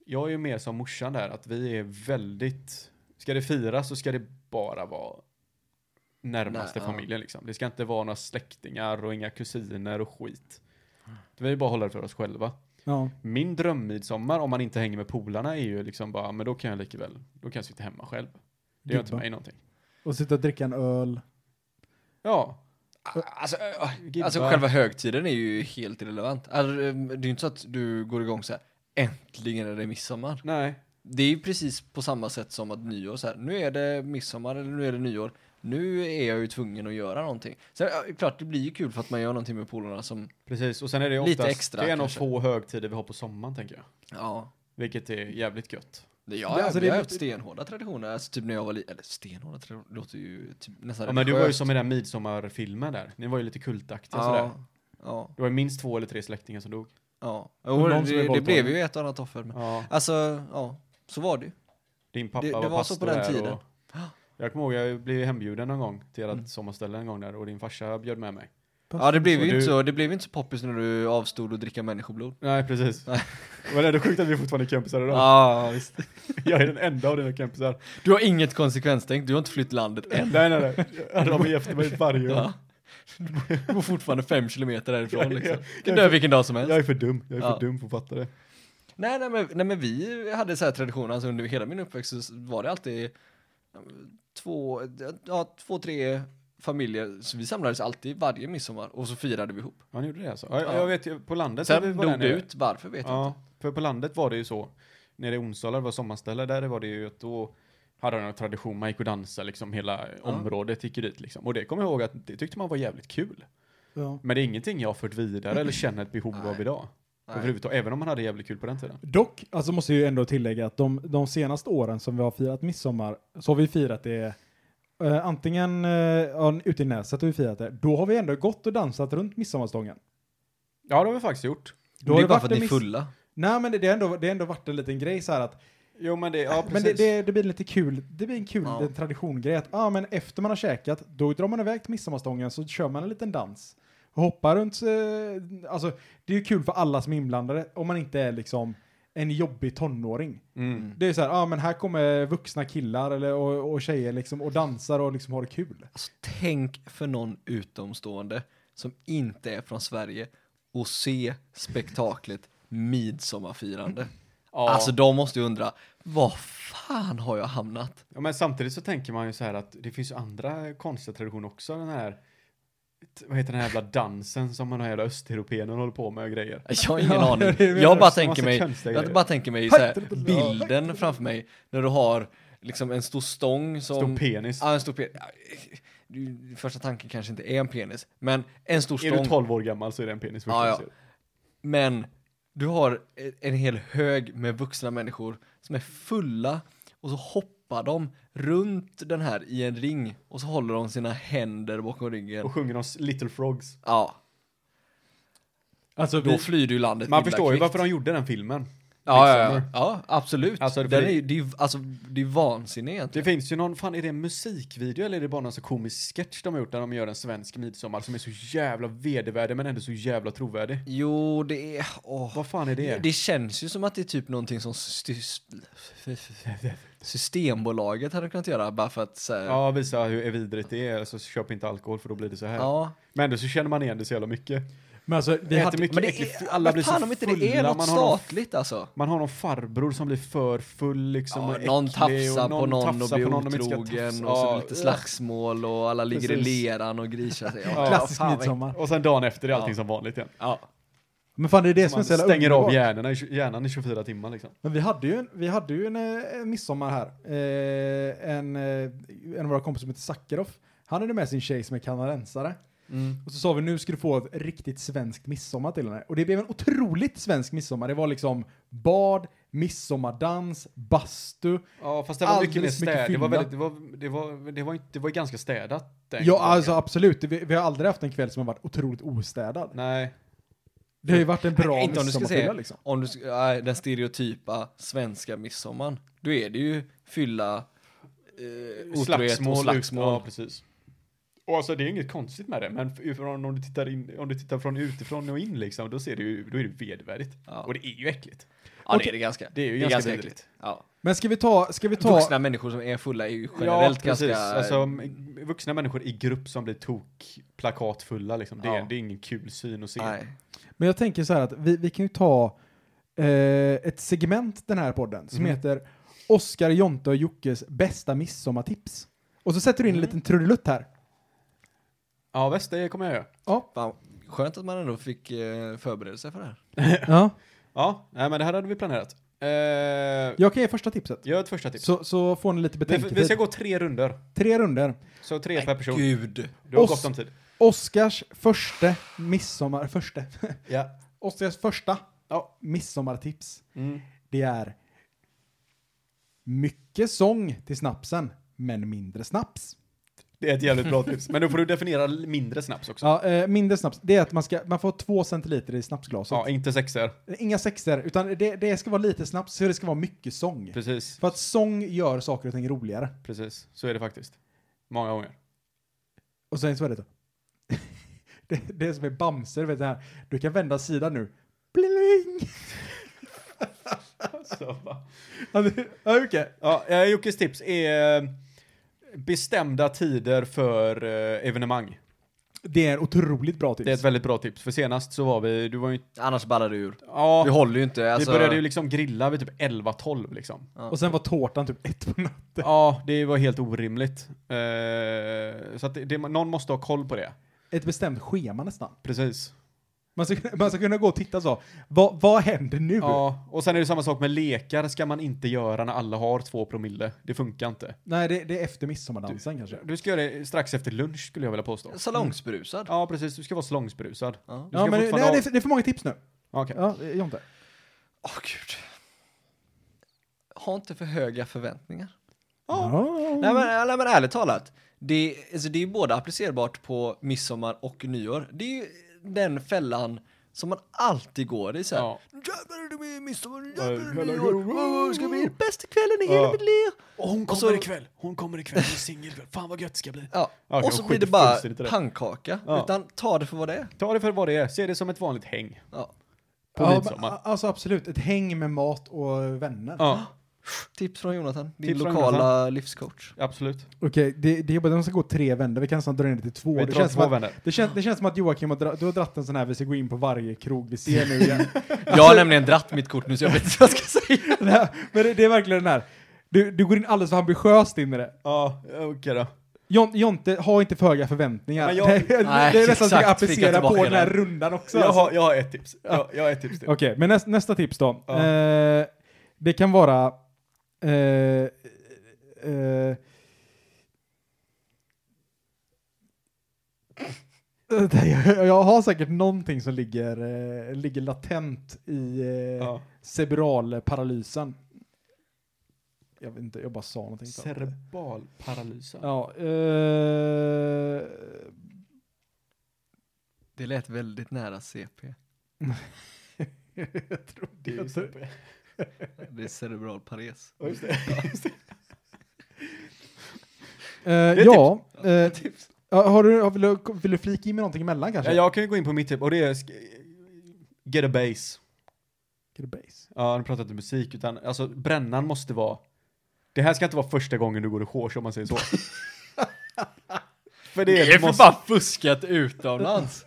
C: jag är ju mer som morsan där, att vi är väldigt, ska det firas så ska det bara vara närmaste
D: Nej, ja.
C: familjen liksom. Det ska inte vara några släktingar och inga kusiner och skit. Vi vill bara hålla det för oss själva.
A: Ja.
C: Min drömmidsommar om man inte hänger med polarna är ju liksom bara, men då kan jag lika väl, då kan jag sitta hemma själv. Det gör inte
A: Gubba.
C: mig någonting.
A: Och sitta och dricka en öl.
C: Ja.
D: Alltså,
C: Gibbar.
D: Alltså själva högtiden är ju helt irrelevant. Alltså, eh, det är ju inte så att du går igång så här. Äntligen är det midsommar.
C: Nej.
D: Det är ju precis på samma sätt som att nyår, så här, nu är det midsommar eller nu är det nyår. Nu är jag ju tvungen att göra någonting. Sen, ja, klart, det blir ju kul för att man gör någonting med polarna som,
C: Precis, och sen är det
D: Lite
C: oftast,
D: extra,
C: det är en av
D: kanske.
C: få högtider vi har på sommaren tänker jag.
D: ja,
C: Vilket är jävligt gött.
D: det,
A: Det-
D: ja
A: alltså,
D: vi
A: det-
D: har haft stenhårda traditioner, alltså typ när jag var liten, eller stenhårda traditioner, det låter ju typ nästan
C: Ja, men du var ju
D: religiöst.
C: som i den midsommarfilmen där, ni var ju lite kultaktiga sådär.
D: ja, ja,
C: Det var ju minst två eller tre släktingar som dog.
D: ja.
A: någon
D: Jo,
A: som är
D: det, det
A: våldtagen.
D: blev ju ett och annat offer. Men,
C: Ja,
D: Alltså, ja, så var det ju.
C: din pappa
D: det- det
C: var,
D: var så
C: pastor
D: på den
C: där
D: tiden. Mm.
C: Och jag kommer ihåg, jag blev hembjuden någon gång till ert sommarställe en gång där och din farsa bjöd med mig.
D: Ja, det blev
C: Så
D: ju
C: du-
D: inte så, det blev ju inte så poppis när du avstod att dricka människoblod.
C: Nej, precis.
D: Nej.
C: Men ändå sjukt att vi fortfarande är kompisar idag.
D: Ja, visst.
C: Jag är den enda av dina kompisar.
D: Du har inget konsekvenstänk, du har inte flytt landet än.
C: Nej, nej, nej. De är efter mig varje år.
D: Ja. Du bor fortfarande fem kilometer därifrån liksom. Du
C: jag-
D: dör vilken dag som helst.
C: Jag är för dum. Jag är för
D: Ja.
C: dum för att fatta det.
D: Nej, nej, men, nej men vi hade så här traditioner, alltså under hela min uppväxt så var det alltid ja, men, två, ja, två, tre familjer, så vi samlades alltid varje midsommar och så firade vi ihop.
C: Ja, ni gjorde det alltså. Ja, jag,
D: Ja.
C: jag vet ju, på landet... när vi
D: Sen
C: var där
D: dog det
C: nere-
D: ut, varför vet jag
C: Ja, för på landet var det ju så. Nere i Onsala, det var sommarställe, där var det ju att då hade de en tradition, man gick och dansade liksom, hela området gick ju dit liksom. Och det kommer jag ihåg att det tyckte man var jävligt kul.
A: Ja.
C: Men det är ingenting jag har fört vidare eller känner ett behov
D: Nej.
C: av idag.
D: inte. Nej.
C: Överhuvudtaget, även om man hade jävligt kul på den tiden.
A: Dock, alltså måste jag ju ändå tillägga att de, de senaste åren som vi har firat midsommar så har vi firat det eh, antingen eh, ja, ute i Näset har vi firat det. Då har vi ändå gått och dansat runt midsommarstången.
C: Ja, det har vi faktiskt gjort.
A: Då
D: Men det
A: har
D: är bara för
A: varit
D: att
A: en
D: ni är
A: miss-
D: fulla.
A: Nej, men det, det, har ändå, det har ändå varit en liten grej så här att
C: Jo, men det, ja, precis.
A: men det, det, det blir lite kul. Det blir en kul
D: Ja.
A: liten traditiongrej att ah, men efter man har käkat då drar man iväg till midsommarstången så kör man en liten dans. Och hoppar runt. Eh, alltså, det är ju kul för alla som är inblandade om man inte är liksom en jobbig tonåring.
C: Mm.
A: Det är så här, ah, men här kommer vuxna killar eller, och, och tjejer liksom, och dansar och liksom har det kul.
D: Alltså tänk för någon utomstående som inte är från Sverige och se spektaklet midsommarfirande.
C: Ja.
D: Alltså de måste ju undra, vad fan har jag hamnat?
C: Ja, men samtidigt så tänker man ju så här att det finns ju andra konstiga traditioner också. Den här, t- vad heter den här jävla dansen som man har jävla östeuropéerna håller på med och grejer.
D: Jag har ingen
A: Ja,
D: aning.
A: det är väl
D: Jag bara
A: också
D: tänker
C: massa
D: mig,
C: konstiga
D: jag
C: grejer.
D: bara tänker mig så här, bilden framför mig när du har liksom en stor stång som...
C: Stor penis.
D: Ja, en stor penis. Första tanken kanske inte är en penis, men en stor
C: Är du
D: stång. Ah,
C: 12 år gammal så är det en penis.
D: Ja,
C: förstås.
D: ja. Men du har e- en hel hög med vuxna människor som är fulla och så hoppar de runt den här i en ring och så håller de sina händer bakom ryggen.
C: Och sjunger om Little Frogs.
D: Ja,
A: Alltså,
D: då flyr du landet
C: Man
D: illa
C: förstår ju
D: kvickt.
C: varför de gjorde den filmen.
D: Ja, ja, ja.
C: Midsommar.
D: ja absolut.
C: Alltså, för
D: Den
C: det-
D: är, ju- det, är, ju- alltså, det är vansinne
C: Det
D: egentligen.
C: finns ju någon, fan är det en musikvideo eller är det bara någon så komisk sketch de har gjort där de gör en svensk midsommar som är så jävla vedervärdig men ändå så jävla trovärdig.
D: Jo, det är... Åh.
C: Vad fan är det?
D: Det, det känns ju som att det är typ någonting som sty- Systembolaget hade kunnat göra bara för att så här, ja.
C: Ja, visa hur är vidrigt det är, alltså köp inte alkohol för då blir det så här. Men ändå så känner man igen det så jävla mycket.
A: men alltså, vi
C: Äter
A: hade,
C: mycket
D: Men det
C: äcklig-
D: är,
C: alla
D: alla
C: blir så
D: fan om inte det är
C: fulla,
D: något
C: man har någon-
D: statligt alltså.
C: Man har någon farbror som blir för full liksom.
D: Ja,
C: och
D: någon
C: äcklig
D: tafsar på någon
C: tafsar
D: och blir
C: på någon de inte ska
D: otrogen
C: tafsa.
D: och så
C: Ja,
D: blir det lite slagsmål och alla ligger
C: Precis.
D: i leran och grisar sig. Ja,
A: klassisk
D: fan, vad-
A: midsommar.
C: Och sen dagen efter är allting
D: Ja.
C: som vanligt igen.
D: Ja.
A: Men fan det är det som är
C: Man
A: så jävla
C: stänger av
A: underbart.
C: hjärnorna, i tj- hjärnan i 24 timmar liksom.
A: Men vi hade ju en, vi hade ju en, eh, en midsommar här. Eh, en, eh, en av våra kompisar som heter Sakharov. Han hade med sin tjej som är kanadensare.
D: Mm.
A: Och så sa vi nu ska du få ett riktigt svenskt midsommar till henne. Och det blev en otroligt svensk midsommar. Det var liksom bad, midsommardans, bastu.
C: Ja, fast det var mycket mer
A: Alldeles mycket
C: städ. Det
A: fylla.
C: var väldigt, det var, det var, det var, inte, det var ganska städat. den
A: Ja,
C: gången.
A: alltså absolut. Vi, vi har aldrig haft en kväll som har varit otroligt ostädad.
C: Nej.
A: Det har ju varit en bra
D: Nej, inte om du ska
A: midsommarfylla
D: säga
A: liksom.
D: om du, sk- nej, den stereotypa svenska midsommarn. Då är det ju fylla, eh, otrohet och slagsmål.
C: Ja, precis. Och alltså det är inget konstigt med det, men f- ifrån, om, du tittar in, om du tittar från utifrån och in liksom, då ser det ju, då är det vedervärdigt.
D: Ja.
C: Och det är ju äckligt.
D: Ja, det
A: Okej.
D: är det ganska.
C: Det är ju
D: det är
C: ganska
D: ganska
C: vidrigt.
D: äckligt. Ja.
A: Men ska vi ta, ska vi ta...
D: Vuxna människor som är fulla är ju generellt
C: precis.
D: ganska...
C: Alltså, m- vuxna människor i grupp som blir tok plakatfulla liksom. Det, är-
D: Ja.
C: det är ingen kul syn att se.
D: nej.
A: Men jag tänker så här att vi, vi kan ju ta eh, ett segment den här podden som
C: Mhm.
A: heter Oskar, Jonte och Jockes bästa midsommartips. Och så sätter du in en
C: Mm.
A: liten trudelutt här.
C: Ja, väst, det kommer jag göra.
A: Ja.
D: Fan, skönt att man ändå fick eh, förbereda sig för det här.
A: ja.
C: Ja, nej, men det här hade vi planerat. Eh,
A: Jag kan ge första tipset.
C: gör ett första tips.
A: Så, så får ni lite
C: Vi,
A: betänketid.
C: vi ska gå tre runder
A: Tre runder.
C: Så tre per person.
D: Gud.
C: Du har
A: Oss.
C: gott om tid.
A: Oscars första midsommar... Första.
C: Ja.
A: Oscars första
C: Ja.
A: midsommartips.
C: Mm.
A: Det är mycket sång till snapsen, men mindre snaps.
C: Det är ett jävligt bra tips. Men då får du definiera l- mindre snaps också. Ja,
A: Ja, eh, mindre snaps. Det är att man ska, man får två centiliter i snapsglaset.
C: inte sexer.
A: Inga sexer, utan det, det ska vara lite snaps, så det ska vara mycket sång.
C: Precis,
A: För att sång gör saker och ting roligare.
C: precis. Så är det faktiskt. Många gånger.
A: Och sen så är det då. det, det är som är Bamse, du vet det här. Du kan vända sidan nu. Bling!
C: Så, va?
A: Ja, det- ja, Jocke.
C: Ja, eh, Jockes tips är eh, bestämda tider för eh, evenemang.
A: Det är en otroligt bra tips.
C: Det är ett väldigt bra tips. För senast så var vi, du var ju
D: Annars ballar det ur.
C: Ja,
D: Det håller ju inte. Alltså,
C: vi började ju liksom grilla vid typ 11-12 liksom.
A: Och sen var tårtan typ ett på natten.
C: Ja, det var helt orimligt. Eh, så att det, det, någon måste ha koll på det.
A: Ett bestämt schema nästan.
C: Precis.
A: Man ska, kunna- man ska kunna gå och titta så. Vad, vad händer nu?
C: Ja, och sen är det samma sak med lekar ska man inte göra när alla har två promille. Det funkar inte.
A: Nej, det, det är efter midsommardansen kanske.
C: Du ska göra det strax efter lunch skulle jag vilja påstå.
D: Salongsberusad.
C: Mm. Ja, precis. Du ska vara slångsberusad.
D: Ja.
C: Du ska
A: Ja, men nej,
C: fortfarande
A: det,
C: ha-
A: är för, det är för många tips nu.
C: Okej.
A: Ja, eh, Jonte.
D: Åh gud. Ha inte för höga förväntningar.
C: Mm.
A: Ja.
D: Nej men, nej men ärligt talat, det, alltså, det är ju både applicerbart på midsommar och nyår. Det är ju den fällan som man alltid går i så här.
C: Ja.
D: Jävlar är det med midsommar,
C: Ja,
D: jävlar är det
C: jävlar,
D: nyår, Åh, det ska bli bästa kvällen i hela
C: Ja.
D: mitt liv.
C: Och hon
D: kommer
C: ikväll. Hon kommer ikväll. Hon är singel ikväll. Fan vad gött det ska bli.
D: Ja.
C: Ja,
D: och
C: jag
D: så
C: skiter
D: blir det bara
C: fullständigt i det.
D: pannkaka,
C: Ja.
D: utan ta det för vad det är.
C: Ta det för vad det är. Se det som ett vanligt häng.
D: Ja.
C: På
A: Ja,
C: midsommar.
A: men, alltså absolut, ett häng med mat och vänner.
C: Ja,
D: Tips från Jonathan, din
C: Tips från
D: lokala
C: Jonathan.
D: livscoach.
C: absolut.
A: Okej, det, det är bara de ska gå tre vändor. Vi kan nästan dra ner det till två.
C: Vi
A: Det
C: drar
A: känns,
C: två
A: som att,
C: vänner.
A: det, känns, det känns som att Joakim har, dra, du har dratt en sån här, vi ska gå in på varje krog vi ser nu igen.
D: Jag har nämligen dratt mitt kort nu så jag vet inte vad jag ska säga.
A: det här, men det, det är verkligen den här, du, du går in alldeles för ambitiöst in i det.
C: Ja, okej då.
A: Jon, Jonte, ha inte för höga förväntningar.
C: Men jag-
A: det, det
D: Nej,
A: är nästan så jag
D: exakt, fick jag
A: applicera på
D: tillbaka
A: den här
D: den.
A: rundan också.
C: Jag
A: alltså.
C: har, jag har ett tips. Jag, jag har ett tips till.
A: Okej, men näs, nästa tips då.
C: Ja.
A: Eh, det kan vara... Eh, eh, jag, jag har säkert någonting som ligger, eh, ligger latent i eh,
C: Ja.
A: cerebralparalysen. Jag vet inte, jag bara sa någonting.
C: Cerebralparalysen.
A: ja, eh,
D: Det lät väldigt nära CP.
A: jag trodde
C: Det är
A: jag
C: ju super.
D: Det är cerebral pares.
C: Ja, just det.
A: Eh,
C: ett
A: ja, eh, ja, har du, har, vill, du, vill du flika in med någonting emellan kanske?
C: Ja, jag kan ju gå in på mitt tips och det är sk- get a base.
A: Base.
C: Ja, nu pratar jag inte musik utan alltså brännan måste vara. Det här ska inte vara första gången du går i shorts om man säger så. för det,
D: Det är för
C: måste,
D: fan fuskat utomlands.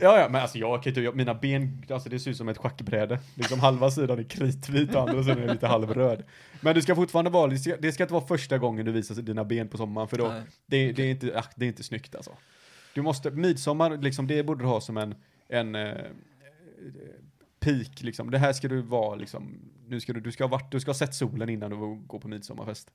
C: Ja, ja, men alltså jag kan ju inte, jag- mina ben, alltså det ser ut som ett schackbräde. Liksom halva sidan är kritvit och andra sidan är lite halvröd. Men du ska fortfarande vara, det ska, det ska inte vara första gången du visar dina ben på sommaren för då,
D: Nej.
C: det, det, är inte, ah, det är inte snyggt alltså. Du måste, midsommar, liksom, det borde du ha som en, en eh, eh, peak, liksom. Det här ska du vara, liksom, nu ska du, du ska ha varit, du ska ha sett solen innan du går på midsommarfest.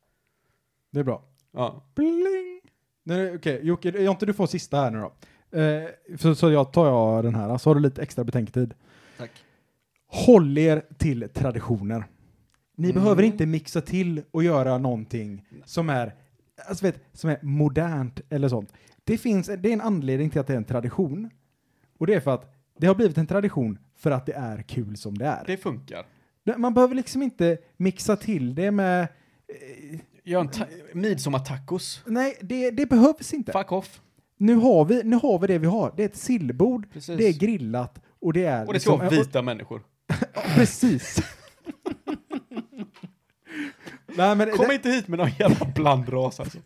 A: Det är bra.
C: Ja,
A: Bling! Nej, Okej, Jocke, Jonte du får sista här nu då. Eh, så så jag tar jag den här, så har du lite extra betänketid.
D: Tack.
A: Håll er till traditioner. Ni
C: Mm.
A: behöver inte mixa till och göra någonting som är, alltså vet, som är modernt eller sånt. Det, finns, det är en anledning till att det är en tradition. Och det är för att det har blivit en tradition för att det är kul som det är.
C: det funkar.
A: Det- Man behöver liksom inte mixa till det med... eh,
C: Gör en ta- midsommartacos.
A: Nej, det, det behövs inte.
C: Fuck off.
A: Nu har, vi, nu har vi det vi har. Det är ett sillbord,
C: Precis.
A: det är grillat och det är...
C: Och det ska vara vita människor.
A: och- Precis. nej, men...
C: Kom
A: det,
C: inte hit med någon jävla blandras alltså.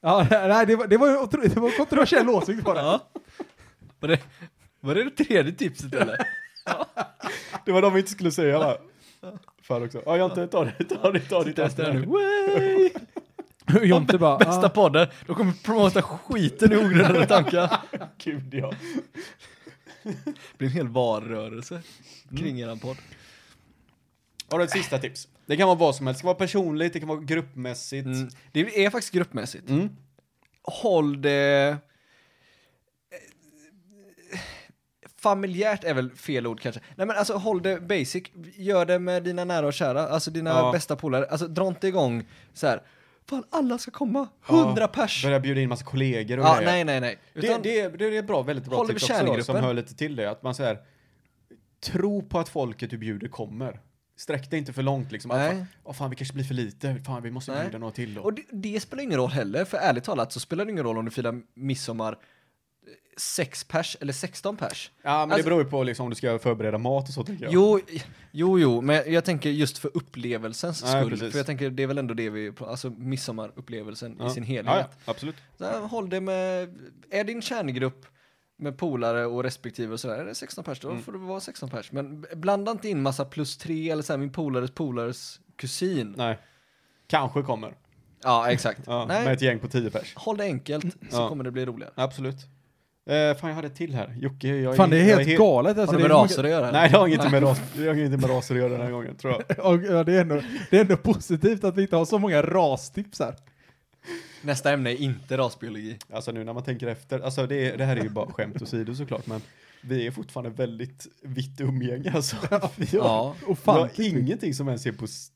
A: ja, nej, det var, det var ju otro- det var en kontroversiell åsikt bara.
D: Ja. Var det, var det det tredje tipset eller?
C: Det var de vi inte skulle säga va? Fan också. Ja, jag inte, ta det, ta det, ta det. Ta
D: Testa
C: det.
D: nu. Way!
A: Jonte bara...
D: Bästa
A: ah,
D: podden, de kommer promota skiten i ogrundade tankar.
C: Gud ja.
D: Mm. Det blir en hel varrörelse kring eran podd.
C: Har du ett sista tips? Det kan vara vad som helst. Det kan vara personligt, det kan vara gruppmässigt.
D: Mm. Det är faktiskt gruppmässigt.
C: Mm.
D: Håll det... Familjärt är väl fel ord kanske. Nej men alltså håll det basic. Gör det med dina nära och kära, alltså dina
C: Ja.
D: bästa polare. Alltså dra inte igång så här. Fan alla ska komma, hundra pers.
C: Börja bjuda in massa kollegor och
D: Ja,
C: grejer.
D: nej nej nej.
C: Det,
D: Utan,
C: det, är- det är ett bra, väldigt bra
D: Håll
C: tips
D: över
C: också då, som
D: kärngruppen.
C: hör lite till det. Att man så här, tro på att folket du bjuder kommer. Sträck dig inte för långt liksom. Att,
D: Nej.
C: fan, åh fan, vi kanske blir för lite. Fan, vi måste
D: Nej.
C: bjuda några till då.
D: Och det, det spelar ingen roll heller, för ärligt talat så spelar det ingen roll om du firar midsommar 6 pers eller 16 pers.
C: ja, men det
D: alltså-
C: beror ju på liksom, om du ska förbereda mat och så tänker jag.
D: Jo, jo, jo, men jag tänker just för upplevelsens
C: Nej,
D: skull.
C: precis.
D: För jag tänker det är väl ändå det vi, alltså midsommarupplevelsen
C: Ja.
D: i sin helhet.
C: Ja, ja, absolut.
D: Så här, håll det med, är din kärngrupp med polare och respektive och sådär, är det 16 pers, då
C: Mm.
D: får det vara 16 pers. Men blanda inte in massa plus tre eller så här, min polares polares kusin.
C: Nej. Kanske kommer.
D: Ja, exakt.
C: Ja,
D: Nej,
C: med ett gäng på tio pers.
D: håll det enkelt så
C: Ja.
D: kommer det bli roligare.
C: Absolut. Eh, fan, jag hade ett till här. Jocke, jag
A: Fan det är
C: jag
A: helt galet alltså.
D: Har det
A: det
D: med
A: är så
D: raser att göra?
C: Nej, det har inget med ras- det har inget med raser att göra den här gången, tror jag.
A: mycket- Ja, det, är ändå, det är ändå positivt att vi inte har så många rastips här.
D: Nästa ämne är inte rasbiologi.
C: Alltså nu när man tänker efter, alltså det, är- det här är ju bara skämt åsido såklart, men vi är fortfarande väldigt vitt umgänge alltså. Vi har,
D: Ja.
A: Och
C: vi
A: fan,
C: har ingenting som ens är på s-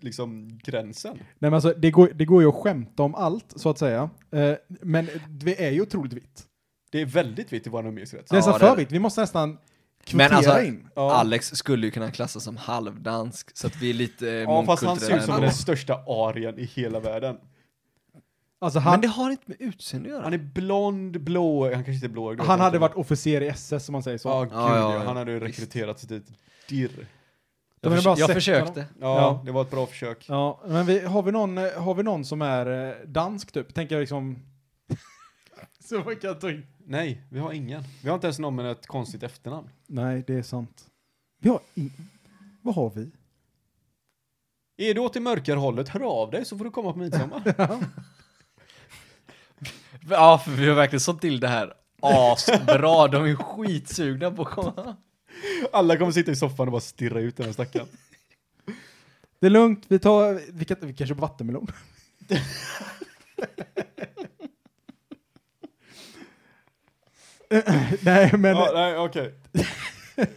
C: liksom gränsen.
A: Nej men alltså, det går, det går ju att skämta om allt, så att säga. Eh, men vi är ju otroligt vitt.
C: Det är väldigt vitt i vår umgängeskrets.
A: Det är
D: Ja,
A: nästan
D: det är
A: för
D: det.
A: vitt, vi måste nästan kvotera
D: Men alltså,
A: in.
C: Ja.
D: Alex skulle ju kunna klassas som halvdansk, så att vi är lite eh,
C: Ja, fast han ser ut
D: mångkulturella
C: som
D: ändå.
C: den största arien i hela världen.
A: Alltså
D: Men
A: han,
D: det har inte med utseende att göra.
C: Han är blond, blå, han kanske inte är blå.
A: han hade varit officer i SS om man säger så.
C: Ja, gud,
D: Ja, ja,
C: ja, han hade ju
D: visst.
C: rekryterats dit. Dirr.
A: De
D: jag
A: är
D: förs-
A: bara
D: jag
A: sett
D: försökte.
C: Ja,
A: Ja.
C: det var ett bra försök.
A: Ja, men vi, har, vi någon, eh, har vi någon som är eh, dansk typ? Tänker jag liksom... så man kan ta in.
C: Nej, vi har ingen. Vi har inte ens någon med ett konstigt efternamn.
A: Nej, det är sant. Vi har in... Vad har vi?
C: Är du åt det mörkare hållet, hör av dig så får du komma på midsommar.
D: Ja, för vi har verkligen sånt till det här asbra. De är skitsugna på att komma.
C: Alla kommer sitta i soffan och bara stirra ut den här stackaren.
A: Det är lugnt, vi tar... Vi, kan, vi kan köpa vattenmelon. nej, men... Ja,
C: ja, nej, okej.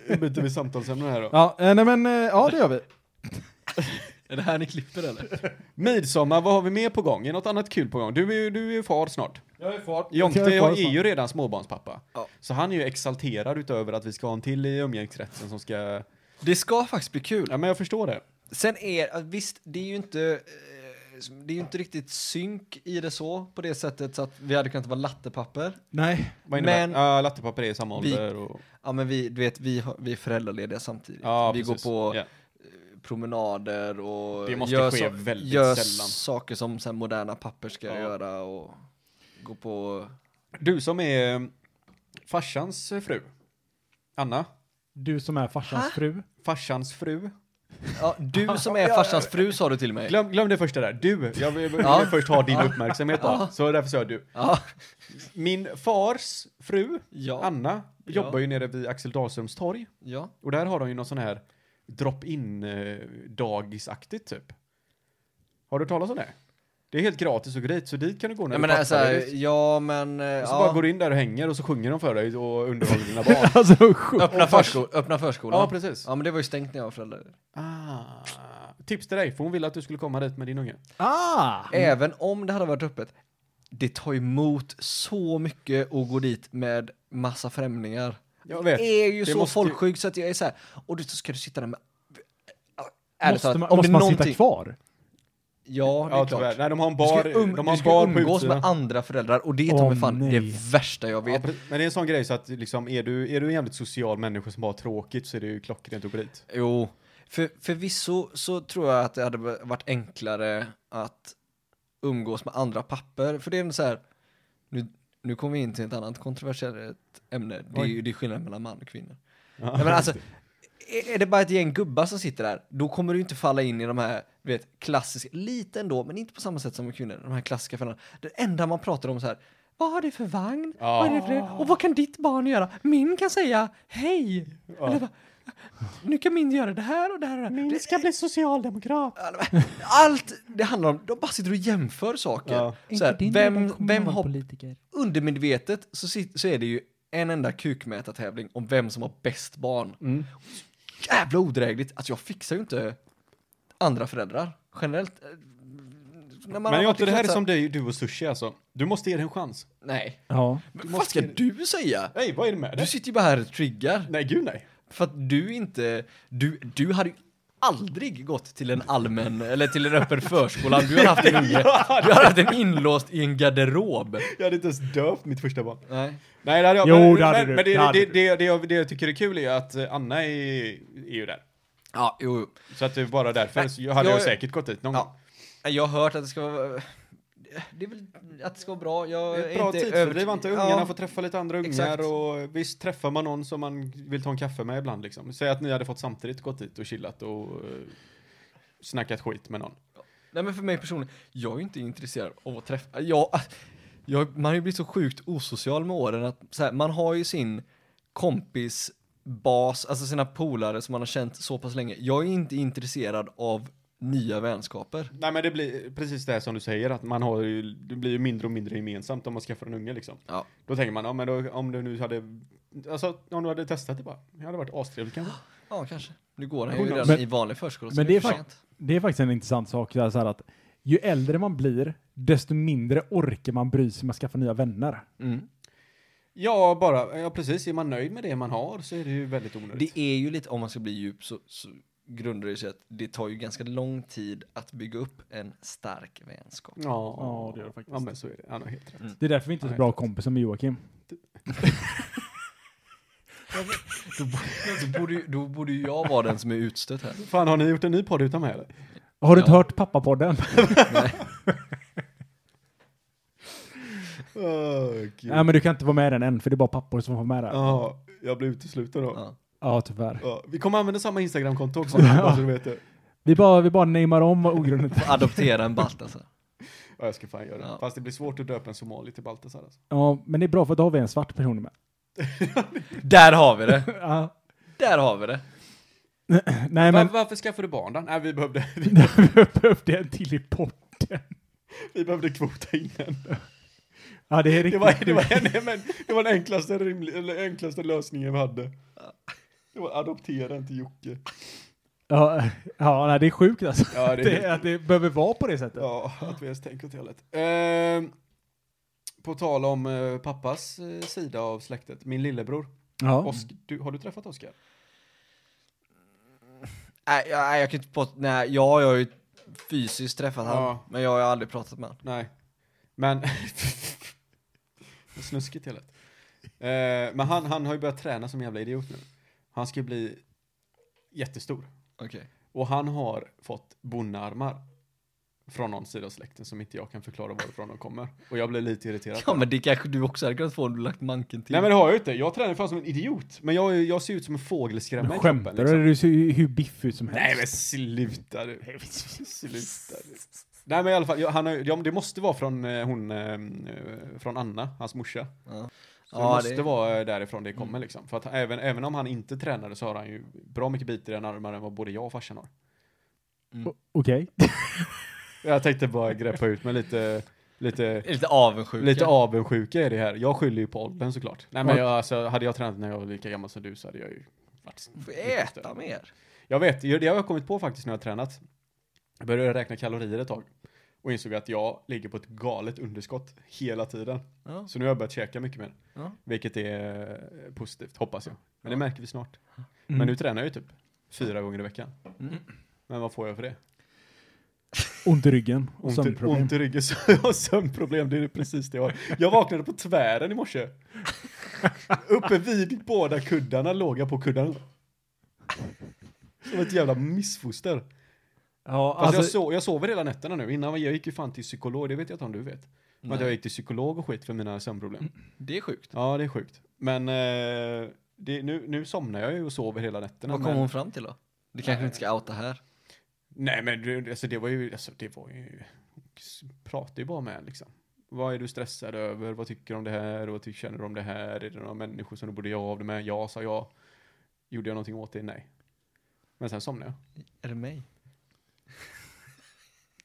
C: Nu byter vi samtalsämne här då.
A: eh, nej men, eh, ja det gör vi.
D: Är det här ni klipper eller?
C: Midsommar, vad har vi mer på gång? Är något annat kul på gång? Du är ju du är ju far snart.
A: Jag är fart.
C: Jonte är ju redan småbarnspappa.
D: Ja.
C: Så han är ju exalterad utöver att vi ska ha en till i umgängeskretsen som ska...
D: Det ska faktiskt bli kul.
C: Ja, men jag förstår det.
D: Sen är, visst, det är ju inte, eh, det är ju inte riktigt synk i det så, på det sättet så att vi hade kunnat vara lattepapper.
A: Nej,
C: Vad innebär
D: Men-
C: det? Ja, lattepapper är i samma
D: Vi-
C: ålder och...
D: Ja men vi, du vet, vi, har, vi är föräldralediga samtidigt.
C: Ja,
D: vi
C: precis.
D: går på
C: Ja.
D: promenader och
C: Det måste ske väldigt
D: gör
C: sällan.
D: saker som sen moderna papper ska
C: Ja.
D: göra och gå på...
C: Du som är eh, farsans fru. Anna.
A: du som är farsans fru.
C: Farsans fru.
D: Ja, du som är farsans fru sa du till mig.
C: Glöm, glöm det första där. Du. Jag vill, jag vill
D: Ja.
C: först ha din uppmärksamhet då.
D: Ja.
C: Så därför sa jag du.
D: Ja.
C: Min fars fru,
D: Ja.
C: Anna, jobbar ju nere vid Axel Dahlströms torg.
D: ja.
C: Och där har de ju någon sån här drop-in eh, dagisaktigt typ. Har du hört talas om det? Det är helt gratis att gå dit, så dit kan du gå när
D: Jag
C: du
D: menar
C: passar
D: såhär,
C: dig dit.
D: alltså, ja men... eh,
C: Och så
D: ja.
C: bara går du in där och hänger och så sjunger de för dig och underhåller dina barn.
A: alltså sjukt.
D: öppna, försko- öppna förskolan.
C: ja, precis.
D: Ja Mm. men det var ju stängt när jag var förälder.
C: Ah. Tips till dig, för hon ville att du skulle komma dit med din unge.
A: Ah!
D: Även om det hade varit öppet, det tar emot så mycket att gå dit med massa främlingar.
C: Jag vet.
D: är ju
C: Det
D: så
C: måste ju-
D: folkskygg så att jag är så här, och du så ska du sitta där med... Ärligt
A: måste
D: talat,
A: man,
D: om
A: måste
D: det
A: man
D: någonting-
A: sitta kvar?
D: Ja, det är
C: Ja, tyvärr.
D: klart.
C: Nej, de har en
D: Du
C: bar,
D: ska, ju um,
C: de har
D: du
C: en
D: ska
C: bar
D: ju
C: på
D: umgås
C: utsidan.
D: med andra föräldrar och det är
A: Åh,
D: ta mig fan
A: nej.
D: det värsta jag
C: Ja,
D: vet.
C: precis. men det är en sån grej så att liksom, är du, är du en jävligt social människa som bara har tråkigt så är det ju klockrent att gå dit.
D: Jo, för, förvisso så tror jag att det hade varit enklare att umgås med andra papper. För det är ändå så här, nu, nu kommer vi in till ett annat kontroversiellt ämne. Det är,
C: Oj.
D: ju- det är skillnad mellan man och kvinna.
C: Ja.
D: Nej, men alltså, är, är det bara ett gäng gubbar som sitter där, då kommer du inte falla in i de här du vet, klassiska, lite ändå, men inte på samma sätt som med kvinnor, de här klassiska fällorna. Det enda man pratar om så här, vad har du för vagn?
C: Ja.
E: Vad är det för, och vad kan ditt barn göra? Min kan säga hej. Eller bara, Nu kan min göra det här och det här och det här.
B: Min ska bli socialdemokrat.
D: Allt det handlar om, de bara sitter och jämför saker.
C: Ja.
D: Så här, vem, vem har
E: politiker?
D: undermedvetet så, sit, så är det ju en enda kukmätartävling om vem som har bäst barn.
C: Mm.
D: Jävla odrägligt att jag fixar ju inte andra föräldrar generellt. Eh, När man
C: Men
D: har
C: jag tror det här är
D: varit i
C: som du, du och sushi alltså. Du måste ge det en chans.
D: kretsar- Nej.
A: Ja.
D: Men Vad ska du säga?
C: Nej, vad är det med
D: Du
C: det?
D: sitter ju bara här och triggar.
C: Nej, gud nej.
D: För att du inte... Du, du hade ju aldrig gått till en allmän eller till en öppen förskola. Du har haft en unge. Du har haft en inlåst i en garderob.
C: Jag hade inte ens döpt mitt första barn.
D: Nej.
C: Nej, det hade jag.
A: Jo,
C: men,
A: det hade
C: men,
A: du.
C: Men det,
A: Det
C: det,
A: hade
C: det,
A: du.
C: det, jag, det jag tycker är kul är ju att eh, Anna är, är ju där.
D: Ja, jo, jo.
C: Så att det är bara därför
D: Nej,
C: så jag hade
D: jag-
C: jag säkert gått dit någon
D: Ja.
C: gång.
D: Jag har hört att det ska vara... Det är väl att det ska vara bra. Jag
C: Ett bra
D: är inte
C: tidsfördriv,
D: övertygad.
C: antar ungarna
D: Ja.
C: får träffa lite andra ungar
D: Exakt.
C: och visst träffar man någon som man vill ta en kaffe med ibland liksom. Säg att ni hade fått samtidigt gått dit och chillat och eh, snackat skit med någon.
D: Nej men för mig personligen, jag är ju inte intresserad av att träffa, jag, jag, man har ju blivit så sjukt osocial med åren att så här, man har ju sin kompis bas, alltså sina polare som man har känt så pass länge. Jag är inte intresserad av nya vänskaper.
C: Nej men det blir precis det här som du säger att man har ju, det blir ju mindre och mindre gemensamt om man skaffar en unge liksom.
D: Ja.
C: Då tänker man, ja men då, om du nu hade, alltså om du hade testat det bara, det hade varit astrevligt kanske.
D: Ja, kanske. Nu går den
C: Who
D: ju redan
C: knows?
A: Men-
D: i vanlig förskola. så
A: men det är
D: för
A: fakt-
D: sent.
A: Det är faktiskt en intressant sak, det är så här att ju äldre man blir, desto mindre orkar man bry sig med att skaffa nya vänner.
D: mm.
C: Ja, bara, ja precis, är man nöjd med det man har så är det ju väldigt onödigt.
D: Det är ju lite, om man ska bli djup så, så grundar det sig att det tar ju ganska lång tid att bygga upp en stark vänskap.
C: Ja,
A: Ja, det gör det faktiskt.
C: Ja men så är det, han har helt rätt.
A: Det är därför vi inte är så
C: Nej,
A: bra
C: klart.
A: kompisar med Joakim.
D: Då borde, då borde, ju- då borde ju jag vara den som är utstött här.
C: Fan, har ni gjort en ny podd utan mig eller?
A: Har du inte
D: Ja.
A: hört pappapodden?
C: Oh,
A: Nej, men du kan inte vara med i den än, för det är bara pappor som får med där. Ja,
C: Ja, jag blev utesluten då.
D: Ja.
A: tyvärr.
C: Ja, vi kommer använda samma Instagram-konto också,
A: Ja.
C: bara så du vet det.
A: Vi bara, vi bara namar om vad ogrundet
D: Får adoptera en balt alltså.
C: Ja, jag ska fan göra det.
D: Ja.
C: Fast det blir svårt att döpa en somali till Baltasar alltså.
A: Ja, men det är bra för då har vi en svart person med.
D: Där har vi det!
A: Ja.
D: Där har vi det!
A: Nej, men
C: Var, varför skaffade du barn då? Nej, vi behövde, vi,
A: vi behövde en till i porten.
C: vi behövde kvota in en.
A: Ja, det är
C: Det
A: riktigt
C: var, det, var,
A: sjukt.
C: nej, men, det var den enklaste, rimli, eller enklaste lösningen vi hade. Det var adoptera en till Jocke.
A: Ja, ja nej, det är sjukt alltså.
C: Ja, det är
A: Det, att det behöver vara på det sättet.
C: Ja, att vi ens tänker åt det hållet. Ehm, på tal om eh, pappas eh, sida av släktet, min lillebror.
A: Ja.
C: Osk, du, har du träffat Oskar?
D: Nej, jag, nej, jag kan inte på, nej, jag, jag har ju fysiskt träffat han,
C: Ja.
D: men jag har ju aldrig pratat med han.
C: Nej. Men... Vad snuskigt hela eh, Men han, han har ju börjat träna som en jävla idiot nu. Han ska ju bli jättestor.
D: Okej.
C: Och han har fått bondearmar från någon sida av släkten som inte jag kan förklara varifrån de kommer. Och jag blir lite irriterad.
D: Ja, men det kanske du också hade kunnat få om du lagt manken till.
C: Nej men det har jag ju inte. Jag tränar fan som en idiot. Men jag, är ju- jag ser ut som en fågelskrämma i
A: Skämtar
C: kroppen.
A: du? eller? Du ser ju hur biff ut som helst.
C: liksom. Nej men sluta du. Sluta du. Nej men i alla fall, jag, han har, ju- ja, men det måste vara från eh, hon, eh, från Anna, hans morsa. Så det
D: ja,
C: måste vara eh, därifrån det kommer liksom. För att även, även om han inte tränade så har han ju bra mycket bitar i den armar än vad både jag och farsan har.
D: Mm.
A: O- Okej.
C: Jag tänkte bara greppa ut med lite, lite,
D: lite avundsjuka.
C: lite avundsjuka är det här. Jag skyller ju på åldern såklart. Nej men jag, alltså, hade jag tränat när jag var lika gammal som du så hade jag ju varit...
D: Får äta mer.
C: Jag vet, det har jag kommit på faktiskt när jag har tränat. Jag började räkna kalorier ett tag. Och insåg att jag ligger på ett galet underskott hela tiden.
D: Ja.
C: Så nu har jag börjat käka mycket mer.
D: Ja.
C: Vilket är eh, positivt, hoppas jag. Men det
D: Ja.
C: märker vi snart.
A: Mm.
C: Men nu tränar jag ju typ fyra gånger i veckan.
D: Mm.
C: Men vad får jag för det?
A: Ont i ryggen och
C: Ont, i-
A: sömnproblem.
C: ont i ryggen så jag har sömnproblem, det är precis det jag har. Jag vaknade på tvären i morse. Uppe vid båda kuddarna låg jag på kuddarna. Som ett jävla missfoster. Fast
A: Ja,
C: jag,
A: alltså,
C: sov, jag sover hela nätterna nu. Innan jag gick ju fan till psykolog, det vet jag inte om du vet. Men Att
D: Nej.
C: jag gick till psykolog och skit för mina sömnproblem.
D: Det är sjukt.
C: Ja, det är sjukt. Men eh, det, nu, nu somnar jag ju och sover hela nätterna.
D: Vad kom
C: men-
D: hon fram till då? Det kanske vi inte ska outa här.
C: Nej men du, alltså det var ju, alltså det var ju, pratade ju bara med en liksom. Vad är du stressad över? Vad tycker du om det här? Vad tycker, känner du om det här? Är det några människor som du borde göra av det med? Ja, sa jag. Gjorde jag någonting åt det? Nej. Men sen somnade jag.
D: Är det mig?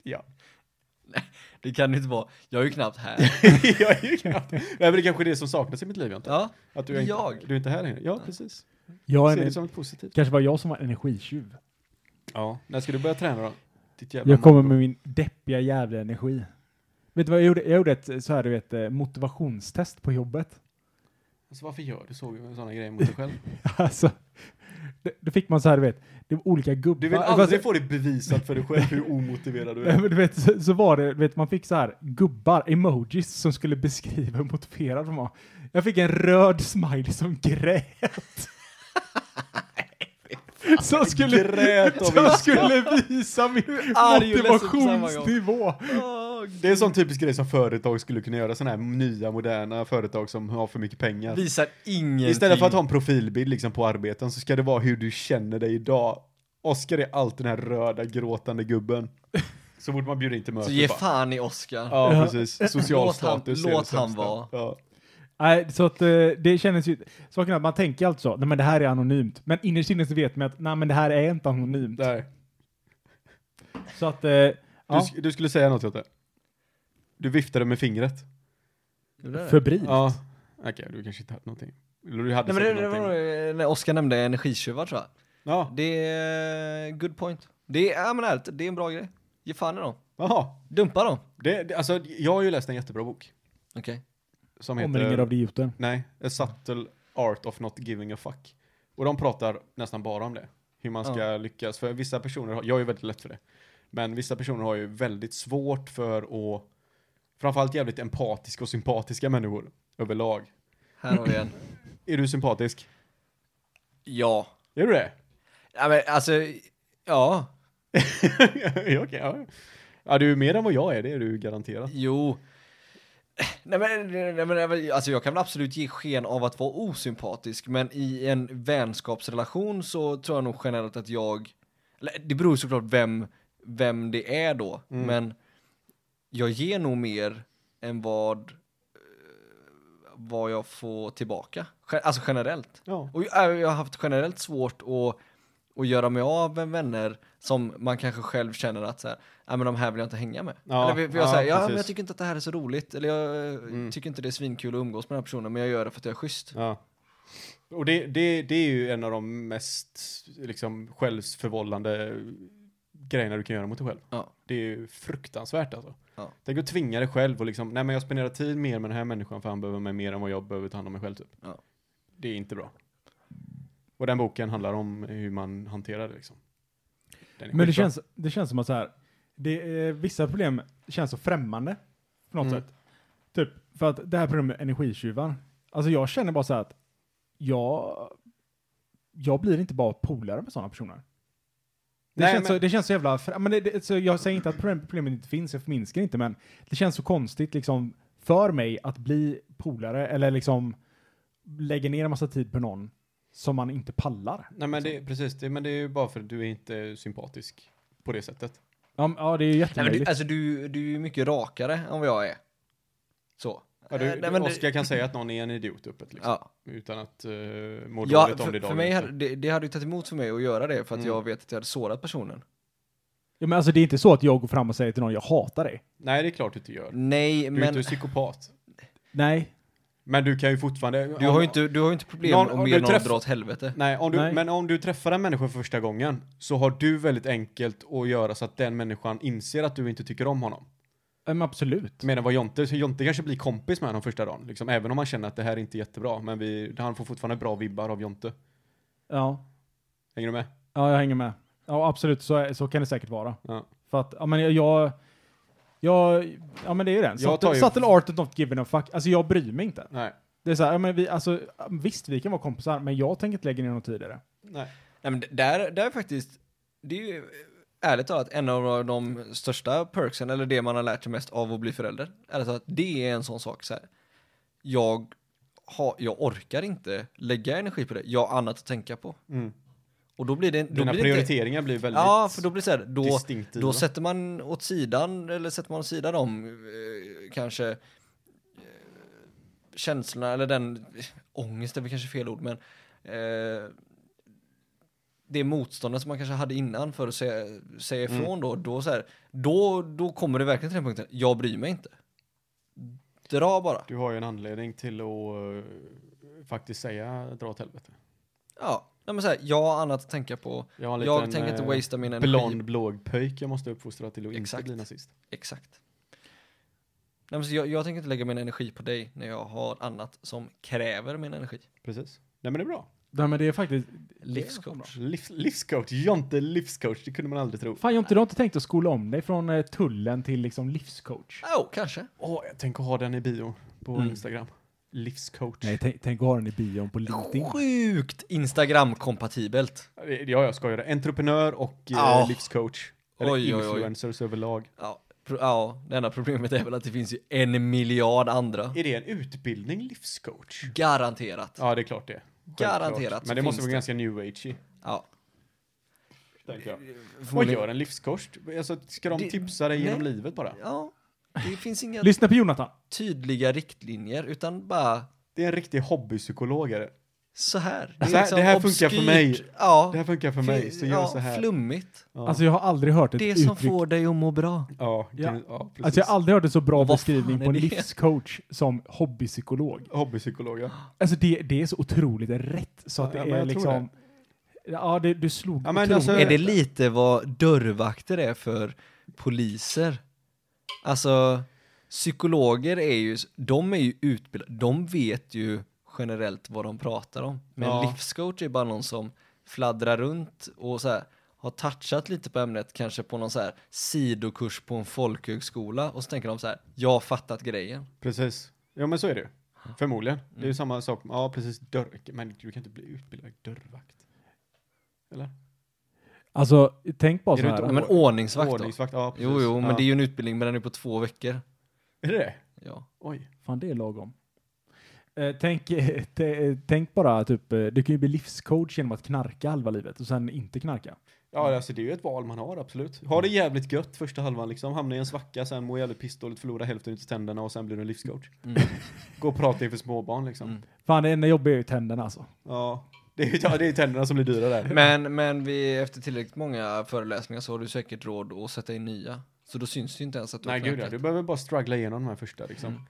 C: Ja.
D: Det kan det inte vara. Jag är ju knappt här.
C: jag är ju knappt... Nej, men det kanske är det som saknas i mitt liv, jag inte.
D: Ja,
C: Att du är inte,
D: Jag?
C: Du är inte här längre. Ja, precis.
A: Jag
C: Ser
A: är
C: det
A: en,
C: som ett positivt.
A: kanske var jag som var energitjuv.
C: Ja. När ska du börja träna då? Ditt jävla
A: Jag kommer
C: mongo.
A: med min deppiga jävla energi. Vet du vad jag gjorde? Jag gjorde ett så här, du vet, eh, motivationstest på jobbet.
C: Alltså, varför gör du så, sådana grejer mot dig själv?
A: Alltså, det- då fick man så här, du vet, det var olika gubbar.
C: Du vill aldrig få det bevisat för dig själv hur omotiverad du
A: Nej,
C: är.
A: men du vet, så, så var det, du vet, man fick så här gubbar, emojis som skulle beskriva hur motiverad de var. Jag fick en röd smiley som grät. som skulle,
C: Grät av
A: som
C: ilska.
A: skulle visa min
D: arg och ledsen på samma gång.
A: motivationsnivå.
C: Det är en sån typisk grej som företag skulle kunna göra, sådana här nya moderna företag som har för mycket pengar.
D: visar ingenting.
C: Istället för att ha en profilbild liksom på arbeten så ska det vara hur du känner dig idag. Oskar är alltid den här röda gråtande gubben. Så fort man bjuder in till möte.
D: Så ge
C: bara,
D: fan i Oscar.
C: Ja, precis. Social
D: Låt han-
C: status. är det
D: låt
C: sämsta.
D: han vara.
C: Ja.
A: Nej, så att eh, det kändes ju... Saken är att man tänker alltså, nej men det här är anonymt. Men innerst inne så vet man att, nej men det här är inte anonymt.
C: Där.
A: Så att, eh, ja,
C: Du, sk- du skulle säga något Jotte. Du viftade med fingret.
A: febril.
C: Ja. Okej, du kanske inte hade någonting. Eller du hade
D: Nej, men det,
C: säkert
D: det var
C: någonting.
D: nog, eh, när Oscar nämnde energitjuvar tror jag.
C: Ja,
D: Det är eh, good point. Det är, ja, men ärligt, det är en bra grej. Ge fan i dem.
C: jaha.
D: Dumpa dem.
C: Det, det, alltså, jag har ju läst en jättebra bok.
D: Okej.
C: Som
A: Omringad
C: heter...
A: av idioter.
C: Nej, A Subtle Art of Not Giving a Fuck. Och de pratar nästan bara om det. Hur man ska lyckas. För vissa personer, har- jag är ju väldigt lätt för det. Men vissa personer har ju väldigt svårt för att, framförallt jävligt empatiska och sympatiska människor överlag.
D: Här har vi en.
C: Är du sympatisk?
D: Ja.
C: Är du det?
D: ja men alltså, ja.
C: ja, okej, ja. ja, du är mer än vad jag är, det är du garanterat.
D: Jo. Eh, Nej men, nej, men- nej, men alltså jag kan väl absolut ge sken av att vara osympatisk men i en vänskapsrelation så tror jag nog generellt att jag eller, det beror ju såklart vem, vem det är då men jag ger nog mer än vad eh, vad jag får tillbaka. Gen- Alltså generellt.
C: Ja.
D: Och äh, jag, jag har haft generellt svårt att, att göra mig av med vänner som man kanske själv känner att så här, "Nej, men de här vill jag inte hänga med.
C: Ja,
D: eller för- för jag,
C: ja,
D: säger, ja,
C: precis. Mm.
D: men jag tycker inte att det här är så roligt, eller jag eh, tycker inte det är svinkul att umgås med den här personen, men jag gör det för att jag är schysst.
C: Ja. Och det, det, det är ju en av de mest liksom, självförvållande grejerna du kan göra mot dig själv.
D: Ja.
C: Det är ju fruktansvärt alltså.
D: Ja.
C: Tänk att tvinga dig själv och liksom, nej men jag spenderar tid mer med den här människan för han behöver mig mer än vad jag behöver ta hand om mig själv typ.
D: Ja.
C: Det är inte bra. Och den boken handlar om hur man hanterar det liksom. Den är
A: Men det
C: skitbra.
A: känns, det känns som att så här, det, eh, vissa problem känns så främmande på något
C: Mm.
A: sätt. Typ, för att det här problemet med energitjuvar, alltså jag känner bara så här att jag, jag blir inte bara polare med sådana personer. Det,
C: Nej,
A: känns
C: men-
A: så, det känns så jävla, frä- men det, det, så jag säger inte att problem- problemet inte finns, jag förminskar inte, men det känns så konstigt liksom för mig att bli polare eller liksom lägga ner en massa tid på någon som man inte pallar.
C: Nej men det, precis, det, men det är ju bara för att du är inte sympatisk på det sättet.
A: Ja, men- ja det är ju
D: Nej, men du,
A: jättemöjligt.
D: alltså du, du är ju mycket rakare än vad jag är. Så.
C: Ja,
D: Eh,
C: du,
D: nej, men det-
C: Oskar kan säga att någon är en idiot öppet liksom.
D: Ja.
C: Utan att uh, må dåligt
D: Ja,
C: om det
D: för, för
C: dagen
D: mig
C: efter.
D: hade, det, det hade ju tagit emot för mig att göra det för att
C: Mm.
D: jag vet att jag hade sårat personen.
A: Ja, men alltså det är inte så att jag går fram och säger till någon jag hatar dig.
C: Nej, det är klart du inte gör.
D: Nej,
C: Du är
D: men
C: inte psykopat.
A: Nej.
C: Men du kan ju fortfarande...
D: du har ju inte, du har ju inte problem
C: Någon-
D: om
C: om
D: mer
C: du
D: någon
C: träff-
D: drar åt helvete.
C: Nej, om du,
A: Nej.
C: men om du träffar en människa för första gången så har du väldigt enkelt att göra så att den människan inser att du inte tycker om honom.
A: Men absolut.
C: Medan vad Jonte, så Jonte kanske blir kompis med honom första dagen. Liksom, även om han känner att det här är inte jättebra. Men vi, han får fortfarande bra vibbar av Jonte.
A: Ja.
C: Hänger du med?
A: ja, jag hänger med. Ja, absolut, så, är- så kan det säkert vara.
C: Ja.
A: För att, ja men jag- jag... Jag, ja men det är ju den.
C: Jag tar
A: Subtle,
C: ju-
A: subtle art of not giving a fuck. Alltså jag bryr mig inte.
C: Nej.
A: Det är så här, ja men vi, alltså visst vi kan vara kompisar, men jag tänker inte lägga ner någon tid i det.
C: Nej.
D: Nej, men d- där, där är faktiskt, det är ju eh, ärligt talat en av de största perksen, eller det man har lärt sig mest av att bli förälder. Ärligt talat, det är en sån sak så här. Jag, har, jag orkar inte lägga energi på det, jag har annat att tänka på.
C: Mm.
D: Och då blir det, då
C: Dina
D: blir det inte,
C: prioriteringar blir väldigt
D: Ja, för då blir det så här, då,
C: distinktiva.
D: då sätter man åt sidan, eller sätter man åt sidan de eh, kanske eh, känslorna, eller den eh, ångest är väl kanske fel ord, men eh, det motståndet som man kanske hade innan för att säga, säga
C: Mm.
D: ifrån då, då, så här, då, då kommer det verkligen till den punkten, jag bryr mig inte. Dra bara.
C: Du har ju en anledning till att eh, faktiskt säga dra åt helvete.
D: Ja, nej, men så här, jag har annat att tänka på.
C: Jag har en
D: jag
C: liten,
D: tänker inte
C: eh,
D: wastea min energi.
C: blond blåögd pöjk jag måste uppfostra till att inte
D: Exakt.
C: bli nazist.
D: Exakt. Nej, men så jag, jag tänker inte lägga min energi på dig när jag har annat som kräver min energi.
C: Precis. Nej men det är bra.
F: Nej men det är faktiskt...
D: Livscoach.
C: Livs, livscoach, Jonte livscoach, det kunde man aldrig tro.
A: Fan Jonte, du har inte tänkt att skola om dig från eh, tullen till liksom livscoach?
D: Ja, oh, kanske.
C: Åh, jag tänker ha den i bio på
D: Mm.
C: Instagram. Livscoach.
A: Nej, tänk, tänk att ha den i bion på LinkedIn.
D: Sjukt Instagram-kompatibelt.
C: Ja, jag skojar. Entreprenör och eh,
D: Ah.
C: livscoach. Eller
D: Oj, oj, oj.
C: influencers överlag.
D: Ja, pro- ja, det enda problemet är väl att det finns ju en miljard andra.
C: Är det en utbildning, livscoach?
D: Garanterat.
C: Ja, det är klart det. Självklart.
D: Garanterat så
C: Men det måste
D: finns
C: vara
D: det.
C: ganska new age
D: Ja.
C: tänker jag. Vad
D: förmodligen.
C: gör en livscoach? Alltså, ska de
D: Det-
C: tipsa dig genom
D: nej.
C: livet bara?
D: Ja, det finns inga
A: Lyssna på Jonathan.
D: tydliga riktlinjer utan bara
C: Det är en riktig hobbypsykolog är det.
D: så här. liksom
C: Så här- det här funkar för mig.
D: Ja,
C: Det här funkar för mig, så gör
D: ja,
C: så här.
D: Flummigt.
C: Ja.
A: Alltså jag har aldrig hört ett
D: Det som
A: uttryck.
D: får dig att må bra.
C: Ja,
A: Ja.
C: kan- ja precis.
A: Alltså jag har aldrig hört en så bra
D: Vad fan
A: beskrivning
D: är
A: på en
D: det?
A: livscoach som hobbypsykolog.
C: Hobbypsykolog, ja.
A: Alltså det, det är så otroligt rätt så att
C: Ja,
A: det
C: men
A: är
C: jag tror
A: liksom... Ja, det, du slog
C: Ja, men
A: otroligt.
C: alltså-
D: Är det lite vad dörrvakter är för poliser? Alltså, psykologer är ju, de är ju utbildade, de vet ju generellt vad de pratar om. Men
C: Ja.
D: livscoach är bara någon som fladdrar runt och så här, har touchat lite på ämnet, kanske på någon så här sidokurs på en folkhögskola och så tänker de så här, jag har fattat grejen.
C: Precis. Ja, men så är det ju. Förmodligen. Det är
A: Mm.
C: ju samma sak. Ja, precis. Dörr. Men du kan inte bli utbildad dörrvakt. Eller?
A: Alltså, tänk bara
C: Är
A: så
C: du
A: här.
C: inte
D: Nej, men ordningsvakt, då.
C: Ordningsvakt, ja precis.
D: Jo, jo, men
C: ja.
D: det är ju en utbildning, men den är på två veckor.
C: Är det det?
D: Ja.
C: Oj.
A: Fan, det är lagom. Eh, tänk, eh, te- eh, tänk bara typ, eh, du kan ju bli livscoach genom att knarka halva livet och sen inte knarka.
D: Mm.
C: Ja, alltså det är ju ett val man har, absolut. Ha det jävligt gött första halvan liksom, hamna i en svacka, sen må jävligt pissdåligt, förlora hälften utav tänderna och sen blir du en livscoach.
D: Mm.
C: Gå och prata inför småbarn liksom.
D: Mm.
A: Fan, det enda jobbiga är ju tänderna alltså.
C: Ja. Det är, ju- ja, det är ju tänderna som blir dyra där.
D: Men, men vi, efter tillräckligt många föreläsningar så har du säkert råd att sätta in nya. Så då syns det ju inte ens att du
C: Nej
D: har
C: gud ja,
D: knarkat.
C: du behöver bara struggla igenom de här första liksom.
D: Mm.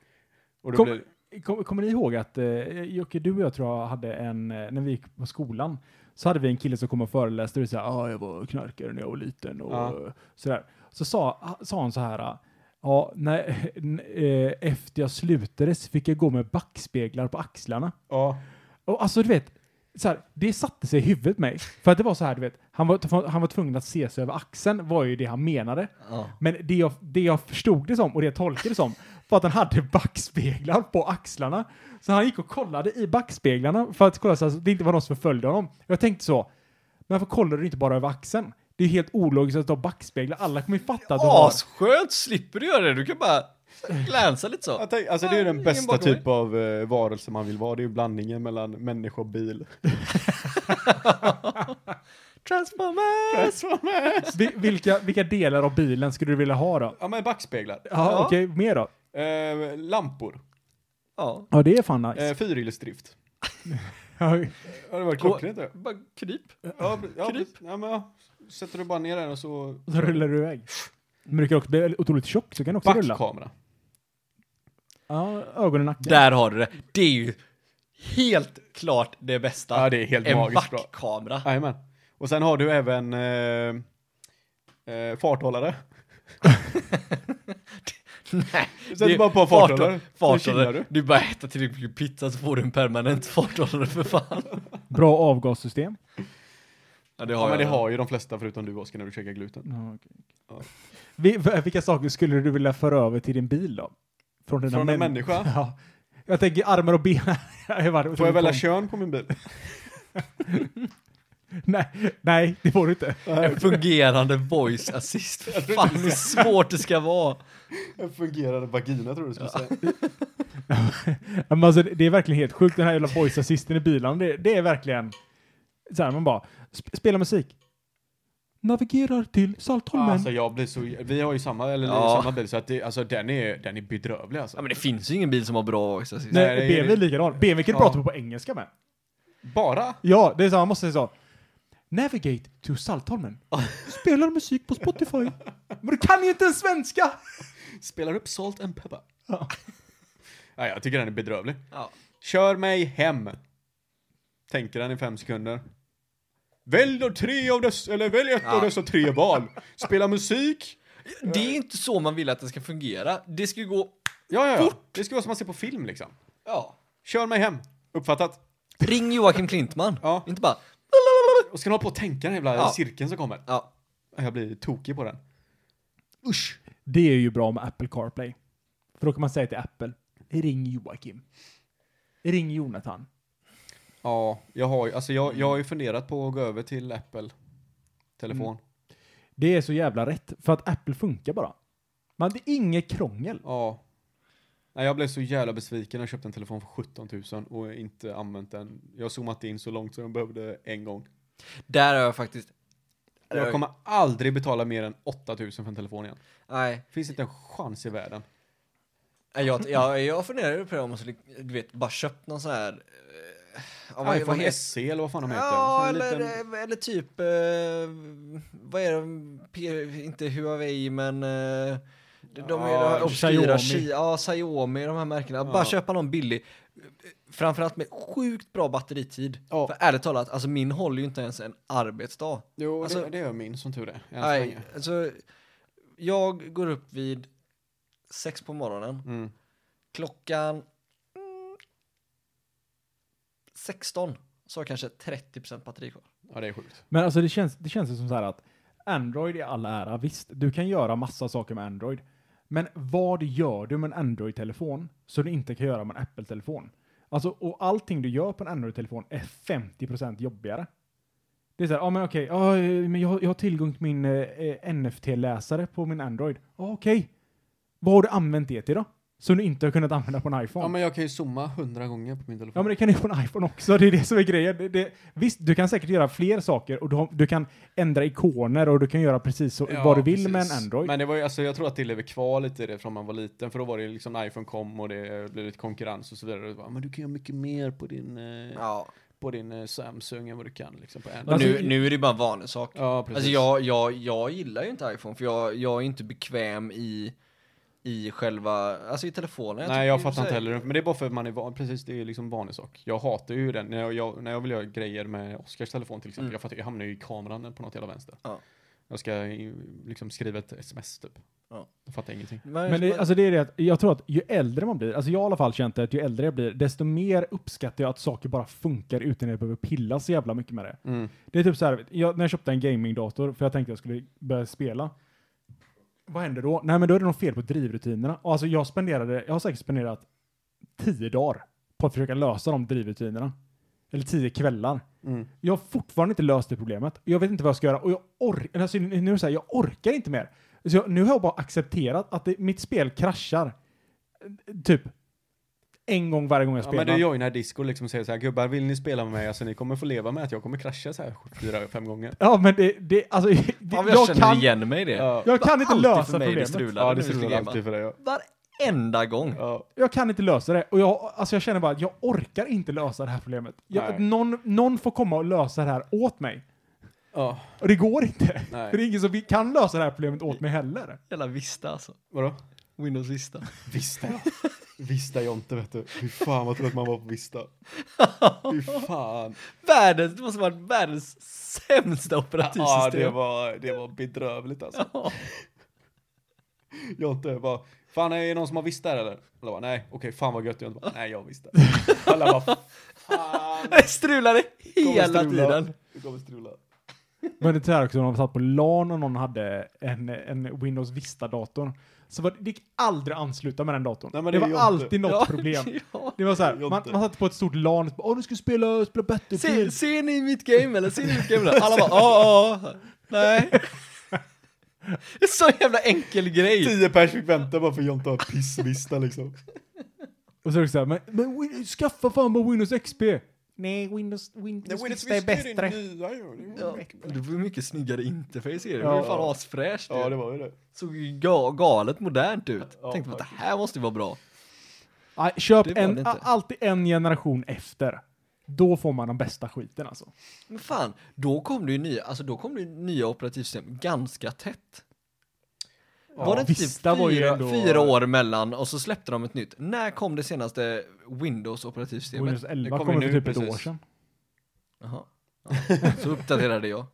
C: Och då
A: Kom-
C: blir
A: Kom, kommer ni ihåg att eh, Jocke, du och jag tror jag hade en, eh, när vi gick på skolan, så hade vi en kille som kom och föreläste och sa ah, jag var knarkare när jag var liten och
C: Ja.
A: sådär. Så sa, ha- sa han så här, ah, ja, när, n- eh, efter jag slutade så fick jag gå med backspeglar på axlarna.
C: ja,
A: Och alltså du vet, så här, det satte sig i huvudet på mig. För att det var så här, du vet, han var, han var tvungen att se sig över axeln var ju det han menade.
D: Ja.
A: Men det jag, det jag förstod det som och det jag tolkade det som var att han hade backspeglar på axlarna. Så han gick och kollade i backspeglarna för att kolla så att det inte var någon som förföljde honom. Jag tänkte så, men varför kollar du inte bara över axeln? Det är ju helt ologiskt att du har backspeglar, alla kommer ju fatta att du har...
D: Asskönt, slipper du göra det. Du kan bara glänsa lite så.
C: Jag tänk, alltså det är ju den
D: Ingen
C: bästa
D: bakom
C: typ av eh, varelse man vill vara, det är ju blandningen mellan människa och bil.
D: Transformer!
A: Vi- Vilka, vilka delar av bilen skulle du vilja ha då?
C: ja men backspeglar.
A: Ja,
D: Ja.
A: okej, mer då?
C: Eh, lampor.
D: Ja.
A: Ja, det är fan nice.
C: Eh, Fyrhjulsdrift.
A: Ja,
C: Har det varit
D: Gå-
C: klockrent? ja.
D: Bara kryp.
C: Ja, pre- ja,
D: Kryp.
C: precis. ja, men, ja. Sätter du bara ner den och så...
A: Och så rullar du iväg. Men du kan också bli otroligt tjock, så du kan också rulla.
C: Backkamera.
A: Ja, ögon och nacke.
D: Där har du det. Det är ju helt klart det bästa.
C: Ja, det är helt
D: en
C: magiskt bra.
D: backkamera.
C: Jajamän. Och sen har du även eh, eh, farthållare.
D: Nej.
C: Sätter
D: det är-
C: bara på farthållare. Så
D: farthåll-
C: chillar
D: Farthållare.
C: du.
D: Du bara äter tillräckligt mycket pizza så får du en permanent farthållare för fan.
A: Bra avgassystem.
D: Ja, det
C: Ja, men det
D: redan.
C: har ju de flesta förutom du Oskar när du käkar gluten.
A: Ja, okej.
C: Ja.
A: Vi- v- Vilka saker skulle du vilja föra över till din bil då? Från, dina
C: Från en
A: män-
C: människa?
A: Ja. Jag tänker armar och ben. Jag var-
C: Får jag välja kön på min bil?
A: nej, nej, det får du inte.
D: En fungerande voice assist. Fan hur svårt det ska vara.
C: En fungerande vagina tror du skulle säga.
A: Men alltså, det är verkligen helt sjukt den här jävla voice assisten i bilen. Det, det är verkligen så här, man bara sp- spela musik. Navigerar till Saltholmen.
C: Alltså jag blir så... Vi har ju samma, eller
D: Ja.
C: samma bil så att det, alltså, den, är, den är bedrövlig alltså.
D: Ja men det finns ju ingen bil som har bra voice assist.
A: nej,
C: nej, det är-
A: BMW är likadan. BMW kan du
C: Ja.
A: prata på på engelska med.
C: Bara?
A: Ja, det är så man måste säga så. Navigate to Saltholmen.
G: Spelar musik på Spotify.
A: Men du kan ju inte en svenska!
C: Spelar upp Salt and Pepper. Nej, jag tycker den är bedrövlig.
D: Ja.
C: Kör mig hem. Tänker han i fem sekunder. Välj då tre av dess, eller välj ett av dessa tre val. Spela musik.
D: Det är inte så man vill att det ska fungera. Det ska ju gå...
C: Ja, ja, ja. Det ska vara som man ser på film liksom.
D: Ja.
C: Kör mig hem. Uppfattat.
D: Ring Joakim Klintman.
C: Ja.
D: Inte bara...
C: Och ska ni hålla på och tänka den jävla
D: Ja.
C: cirkeln som kommer.
D: Ja.
C: Jag blir tokig på den. Usch.
A: Det är ju bra med Apple CarPlay. För då kan man säga till Apple, ring Joakim. Ring Jonathan.
C: Ja, jag har ju, alltså jag, jag har ju funderat på att gå över till Apple. Telefon.
A: Det är så jävla rätt, för att Apple funkar bara. Man, det är inget krångel.
C: Ja. Nej, jag blev så jävla besviken när jag köpte en telefon för 17 000 och inte använt den. Jag har zoomat in så långt som jag behövde en gång.
D: Där har jag faktiskt...
C: Jag kommer aldrig betala mer än 8 000 för en telefon igen.
D: Nej.
C: Finns inte en chans i världen.
D: Nej, Jag, jag, jag funderar ju på det om man skulle, du vet, bara köpt någon sån här... eh, ja, vad- vad
C: iPhone
D: heter-
C: SE eller vad fan de heter.
D: Ja,
C: En sån
D: eller,
C: liten-
D: eller typ... Eh, vad är de? P- inte Huawei, men... Eh, de de är
C: Ja,
D: de här obskyra...
A: Xiaomi.
D: Ki- Ja, Xiaomi, de här märkena.
C: Ja.
D: Bara köpa någon billig. Framförallt med sjukt bra batteritid.
C: Ja.
D: För ärligt talat, alltså min håller ju inte ens en arbetsdag.
C: Jo, det,
D: alltså-
C: det gör min som tur är. Än så
D: Nej,
C: länge.
D: alltså, jag går upp vid sex på morgonen.
C: Mm.
D: Klockan mm, 16 så har jag kanske 30% batteri kvar.
C: Ja, det är sjukt.
A: Men alltså det känns, det känns ju som så här att Android i all ära, visst, du kan göra massa saker med Android. Men vad gör du med en Android-telefon som du inte kan göra med en Apple-telefon? Alltså, och allting du gör på en Android-telefon är 50% jobbigare. Det är så här, ja men okej, ja, eh, men jag, jag har tillgång till min eh, eh, NFT-läsare på min Android. Ja okej, vad har du använt det till då? Som du inte har kunnat använda på en iPhone?
C: Ja, men jag kan ju zooma hundra gånger på min telefon.
A: Ja, men det kan du göra på en iPhone också. Det är det som är grejen. Det, det, visst, du kan säkert göra fler saker och du, har, du kan ändra ikoner och du kan göra precis så,
C: Ja,
A: vad du vill med
C: precis.
A: en Android.
C: Men det var ju, alltså, jag tror att det lever kvar lite i det från man var liten, för då var det ju liksom när iPhone kom och det blev lite konkurrens och så vidare. Och bara, men du kan göra mycket mer på din, eh,
D: Ja.
C: på din eh, Samsung än vad du kan liksom på
D: Och
C: Android.
A: Alltså,
D: nu, nu är det bara en vanesak.
C: Ja, precis.
D: Alltså jag, jag, jag gillar ju inte iPhone för jag, jag är inte bekväm i, i själva, alltså i telefonen.
C: Nej, jag
D: tycker- så
C: fattar inte
D: här-
C: heller. Men det är bara för att man är van, precis, det är ju liksom vanlig sak. Jag hatar ju den. När jag, jag, när jag vill göra grejer med Oskars telefon till exempel,
D: Mm.
C: jag, fattar, jag hamnar ju i kameran på något jävla vänster.
D: Ja.
C: Jag ska i- liksom skriva ett sms typ.
D: Ja.
C: Jag fattar ingenting.
A: Men det, alltså det är det att jag tror att ju äldre man blir, alltså jag har i alla fall känt det att ju äldre jag blir, desto mer uppskattar jag att saker bara funkar utan att jag behöver pilla så jävla mycket med det.
C: Mm.
A: Det är typ så här, jag, när jag köpte en gamingdator för jag tänkte jag skulle börja spela. Vad hände då? Nej, men då är det något fel på drivrutinerna. Och alltså jag spenderade, jag har säkert spenderat tio dagar på att försöka lösa de drivrutinerna. Eller tio kvällar.
C: Mm.
A: Jag har fortfarande inte löst det problemet. Jag vet inte vad jag ska göra och jag, or- alltså, nu är det så här, jag orkar inte mer. Så jag, nu har jag bara accepterat att det, mitt spel kraschar. eh, Typ en gång varje gång jag
C: Ja,
A: spelar.
C: men du joinar disco liksom och säger så här, gubbar vill ni spela med mig? Alltså ni kommer få leva med att jag kommer krascha så här fyra, fem gånger.
A: Ja, men det, det alltså, det,
D: Fan,
A: jag, kan,
D: igen mig i det.
C: Ja,
A: jag kan inte
D: Alltid
A: lösa
D: för mig
A: problemet.
D: Det strular.
C: ja det
D: Nu ska
C: ser
D: jag
C: alltid för dig. Ja.
D: bara- Varenda gång.
C: Ja.
A: jag kan inte lösa det. Och jag, alltså jag känner bara att jag orkar inte lösa det här problemet. Jag,
C: Nej.
A: någon, någon får komma och lösa det här åt mig.
C: Ja.
A: Och det går inte.
C: Nej.
A: För det är ingen som vi- kan lösa det här problemet åt mig heller.
D: Jävla Vista alltså.
C: Vadå?
D: Windows Vista.
C: Vista. Vista Jonte vet du. Fy fan vad trött man var på Vista. Fy fan.
D: Världens, det måste vara världens sämsta
C: Ja det
D: operativsystem.
C: var, det var bedrövligt alltså. Jonte bara, fan är det någon som har Vista här eller? Alla bara, nej okej fan vad gött. Jonte bara, nej jag har Vista. Alla bara, fan.
D: det strulade
C: kommer
D: hela
C: strula.
D: tiden.
C: Det kommer strula.
A: Men det är så här också, när man satt på LAN och någon hade en, en Windows Vista-dator. Så var, det det gick aldrig att ansluta med den datorn.
C: Nej, men
A: det,
C: det är
A: var
C: ju inte-
A: alltid något
D: Ja,
A: problem.
D: ja.
A: Det var så här,
C: Det är ju
A: man,
C: inte.
A: man satt på ett stort LAN och bara, åh nu ska vi spela, spela
D: Se,
A: Battlefield.
D: ser ni mitt game eller? Ser ni mitt game eller? Alla bara ja, ja, nej. Det är så jävla enkel grej.
C: Tio pers fick vänta bara för Jonte har pissvista liksom.
A: Och så är det så här, men, men Win- skaffa fan bara Windows XP. Nej, Windows, Windows, Vista är bättre.
C: nya
D: Ja. Det var mycket snyggare interface i det. Det
A: Ja.
D: var ju fan asfräscht.
C: Ja,
D: ju.
C: det var ju det.
D: Såg ju ga- galet modernt ut.
C: Ja,
D: Tänkte att det här måste ju vara bra.
A: Nej, köp
D: Det var det
A: en,
D: inte.
A: a- alltid en generation efter. Då får man den bästa skiten alltså.
D: Men fan, då kom det ju nya, alltså då kom det ju nya operativsystem ganska tätt. var det inte typ
A: Vista var ju
D: fyra,
A: ändå-
D: fyra år mellan och så släppte de ett nytt? När kom det senaste Windows operativsystemet?
A: Windows 11
C: kom ju
A: kom
C: nu
A: för typ ett
C: precis.
A: år sedan.
D: Jaha. Ja. Så uppdaterade jag.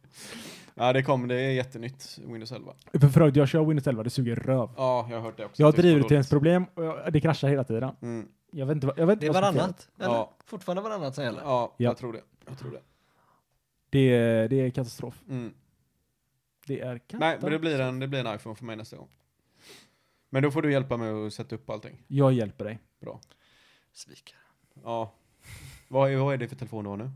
C: Ja, det kom. Det är jättenytt, Windows 11.
A: För, för övrigt, jag kör Windows 11, det suger röv.
C: Ja, jag har hört det också.
A: Jag har
C: Tyckte det var dåligt.
A: drivutredningsproblem och jag, det kraschar hela tiden.
C: Mm.
A: Jag vet inte, vad- jag vet
D: Det
A: inte
D: är
A: vad som är fel.
D: varannat? Eller?
C: Ja.
D: Fortfarande varannat som gäller?
C: Ja,
A: Ja.
C: jag tror det. Jag tror det.
A: Det är, det är katastrof.
C: Mm.
A: Det är katastrof.
C: Nej, men det blir, en, det blir en iPhone för mig nästa gång. Men då får du hjälpa mig att sätta upp allting.
A: Jag hjälper dig.
D: Svikare.
C: Ja. Vad är, vad är det för telefon du har nu?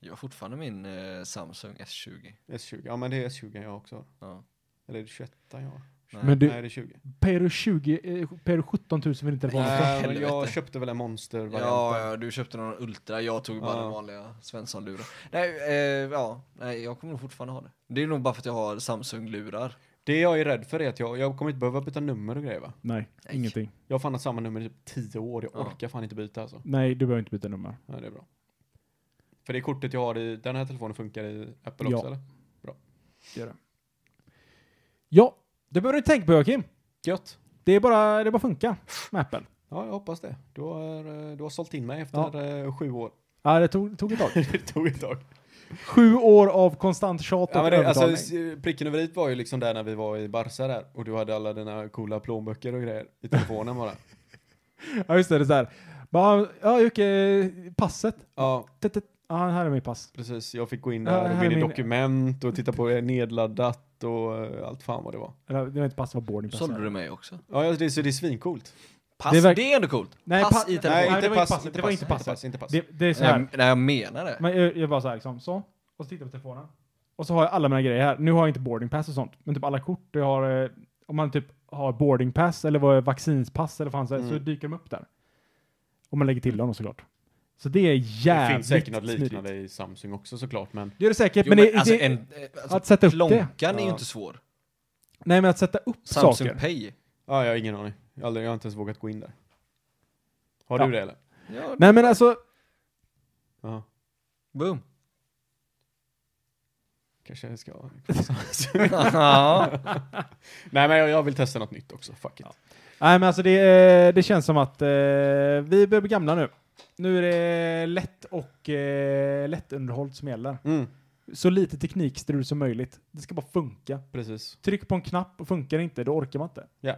D: Jag har fortfarande min eh, Samsung S20.
C: S20? Ja, men det är S20 jag också har.
D: Ja.
C: Eller är det 21 jag har?
D: Nej.
A: Men
C: Nej,
A: du,
C: det är 20.
A: Peru 20, eh, Peru 17 000 för din telefon.
C: Nej, men
D: helvete.
C: jag köpte väl en monster
D: Ja, ja, du köpte någon Ultra, jag tog bara
C: Ja.
D: den vanliga Svensson-luren. Nej, eh, ja, nej, jag kommer nog fortfarande ha det. Det är nog bara för att jag har Samsung-lurar.
C: Det jag är rädd för är att jag, jag kommer inte behöva byta nummer och grejer va?
A: Nej,
D: Nej.
A: ingenting.
C: Jag har fan haft samma nummer i typ 10 år, jag
D: Ja.
C: orkar fan inte byta alltså.
A: Nej, du behöver inte byta nummer.
C: Nej, det är bra. För det kortet jag har i den här telefonen funkar i Apple
A: Ja.
C: också eller?
A: Gör det. Ja, det behöver du inte tänka på Joakim.
C: Gött!
A: Det är bara, det bara funkar med Apple.
C: Ja, jag hoppas det. Du har, eh, du har sålt in mig
A: Ja.
C: efter eh, sju år.
A: Ja, det tog, tog ett tag.
C: det tog ett tag.
A: Sju år av konstant tjat och
C: Ja, men det, alltså,
A: övertalning.
C: s- pricken över i var ju liksom där när vi var i Barca där och du hade alla dina coola plånböcker och grejer i telefonen bara.
A: Ja, just det. Det är så här. Bara, ja, Jocke, passet.
C: Ja,
A: Tut, tut. Ja, här är mitt pass.
C: precis. Jag fick gå in
A: Ja,
C: där och
A: här
C: gå
A: är
C: in i
A: min-
C: dokument och titta på det nedladdat och eh, allt fan vad det var.
A: Eller, det var inte pass, det var boardingpass.
D: Sålde du mig också?
C: Ja, ja, det, så det är svincoolt.
D: Pass,
A: Det
D: det
A: är
D: är,
A: verk-
D: ändå coolt.
A: Nej,
D: pass
A: pa-
D: i
A: Nej,
D: telefon. Nej,
A: det var inte pass, det var inte pass.
C: Exakt, inte pass.
A: Det, det är så här.
D: nej, jag menar det.
A: Men jag, jag bara så här liksom, så. Och så tittar jag på telefonen. Och så har jag alla mina grejer här. Nu har jag inte boarding pass och sånt, men typ alla kort. Jag har, eh, om man typ har boarding pass eller vad är vaccinspass eller fan så,
C: Mm.
A: så dyker de upp där. Om man lägger till dem såklart. Så det är
C: Det
A: jävligt
C: finns säkert något liknande
A: smidigt.
C: i Samsung också såklart, men
A: Det gör det säkert,
D: Jo,
A: men,
D: men
A: det,
D: alltså,
A: det,
D: en, eh, alltså,
A: att sätta upp det.
D: plånkan är ju
C: Ja.
D: inte svår.
A: Nej, men att sätta upp
D: Samsung
A: saker.
D: Pay.
C: ja, jag har ingen aning. Jag har aldrig- jag har inte ens vågat gå in där. Har
A: Ja.
C: du det eller?
D: Ja,
A: Nej, men alltså,
C: Ja,
D: boom.
C: kanske jag ska.
D: ja.
C: Nej, men jag, jag vill testa något nytt också. Fuck it.
A: nej, men alltså det, eh, det känns som att eh, vi börjar bli gamla nu. Nu är det lätt och eh, lättunderhållt som gäller.
C: Mm,
A: Så lite teknikstrul som möjligt. Det ska bara funka.
C: precis.
A: Tryck på en knapp och funkar det inte, då orkar man inte.
C: Ja.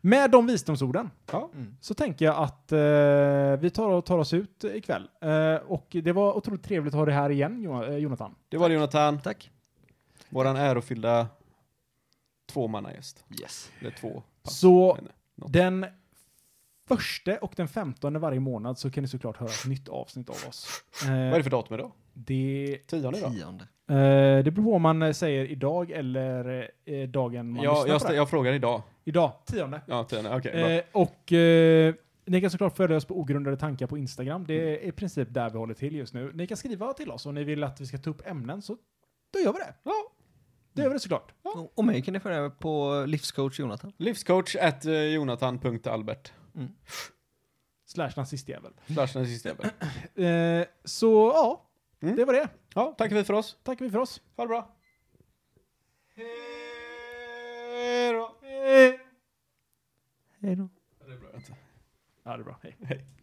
A: Med de visdomsorden
C: Ja.
D: Mm.
A: så tänker jag att eh, vi tar, och tar oss ut ikväll. Eh, och det var otroligt trevligt att ha dig här igen, Jo- eh, Jonathan.
C: Det var det Jonathan,
D: Tack.
C: våran ärofyllda tvåmannagäst.
D: Yes.
C: Eller två pass.
A: Så
C: Men-
A: den första och den femtonde varje månad så kan ni såklart höra ett nytt avsnitt av oss.
C: Vad är
A: Eh,
C: det för datum idag?
A: det,
C: Tionde idag?
D: Tionde.
A: eh, det beror på om man eh, säger idag eller eh, dagen man
C: Jag,
A: lyssnar
C: jag,
A: på
C: stä-
A: det.
C: jag frågar idag.
A: Idag, tionde.
C: Ja, tionde. Okej, bra.
A: Eh, och eh, ni kan såklart följa oss på ogrundade tankar på Instagram.
C: Mm.
A: Det är i princip där vi håller till just nu. Ni kan skriva till oss om ni vill att vi ska ta upp ämnen så då gör vi det. Ja. Det gör vi det såklart.
D: Och- Och mig kan ni följa på Livscoach Jonathan.
C: Livscoach at eh, jonathan.albert.
A: Slash nazistjävel.
C: Slash nazistjävel.
A: Eh, så ja,
C: Mm.
A: det var det.
C: Ja, tackar vi för oss.
A: Tackar vi för oss.
C: Ha det bra. Hej då.
A: Hej då.
C: Det är bra, vänta.
A: Ja, det är bra. Hej.
C: Hej.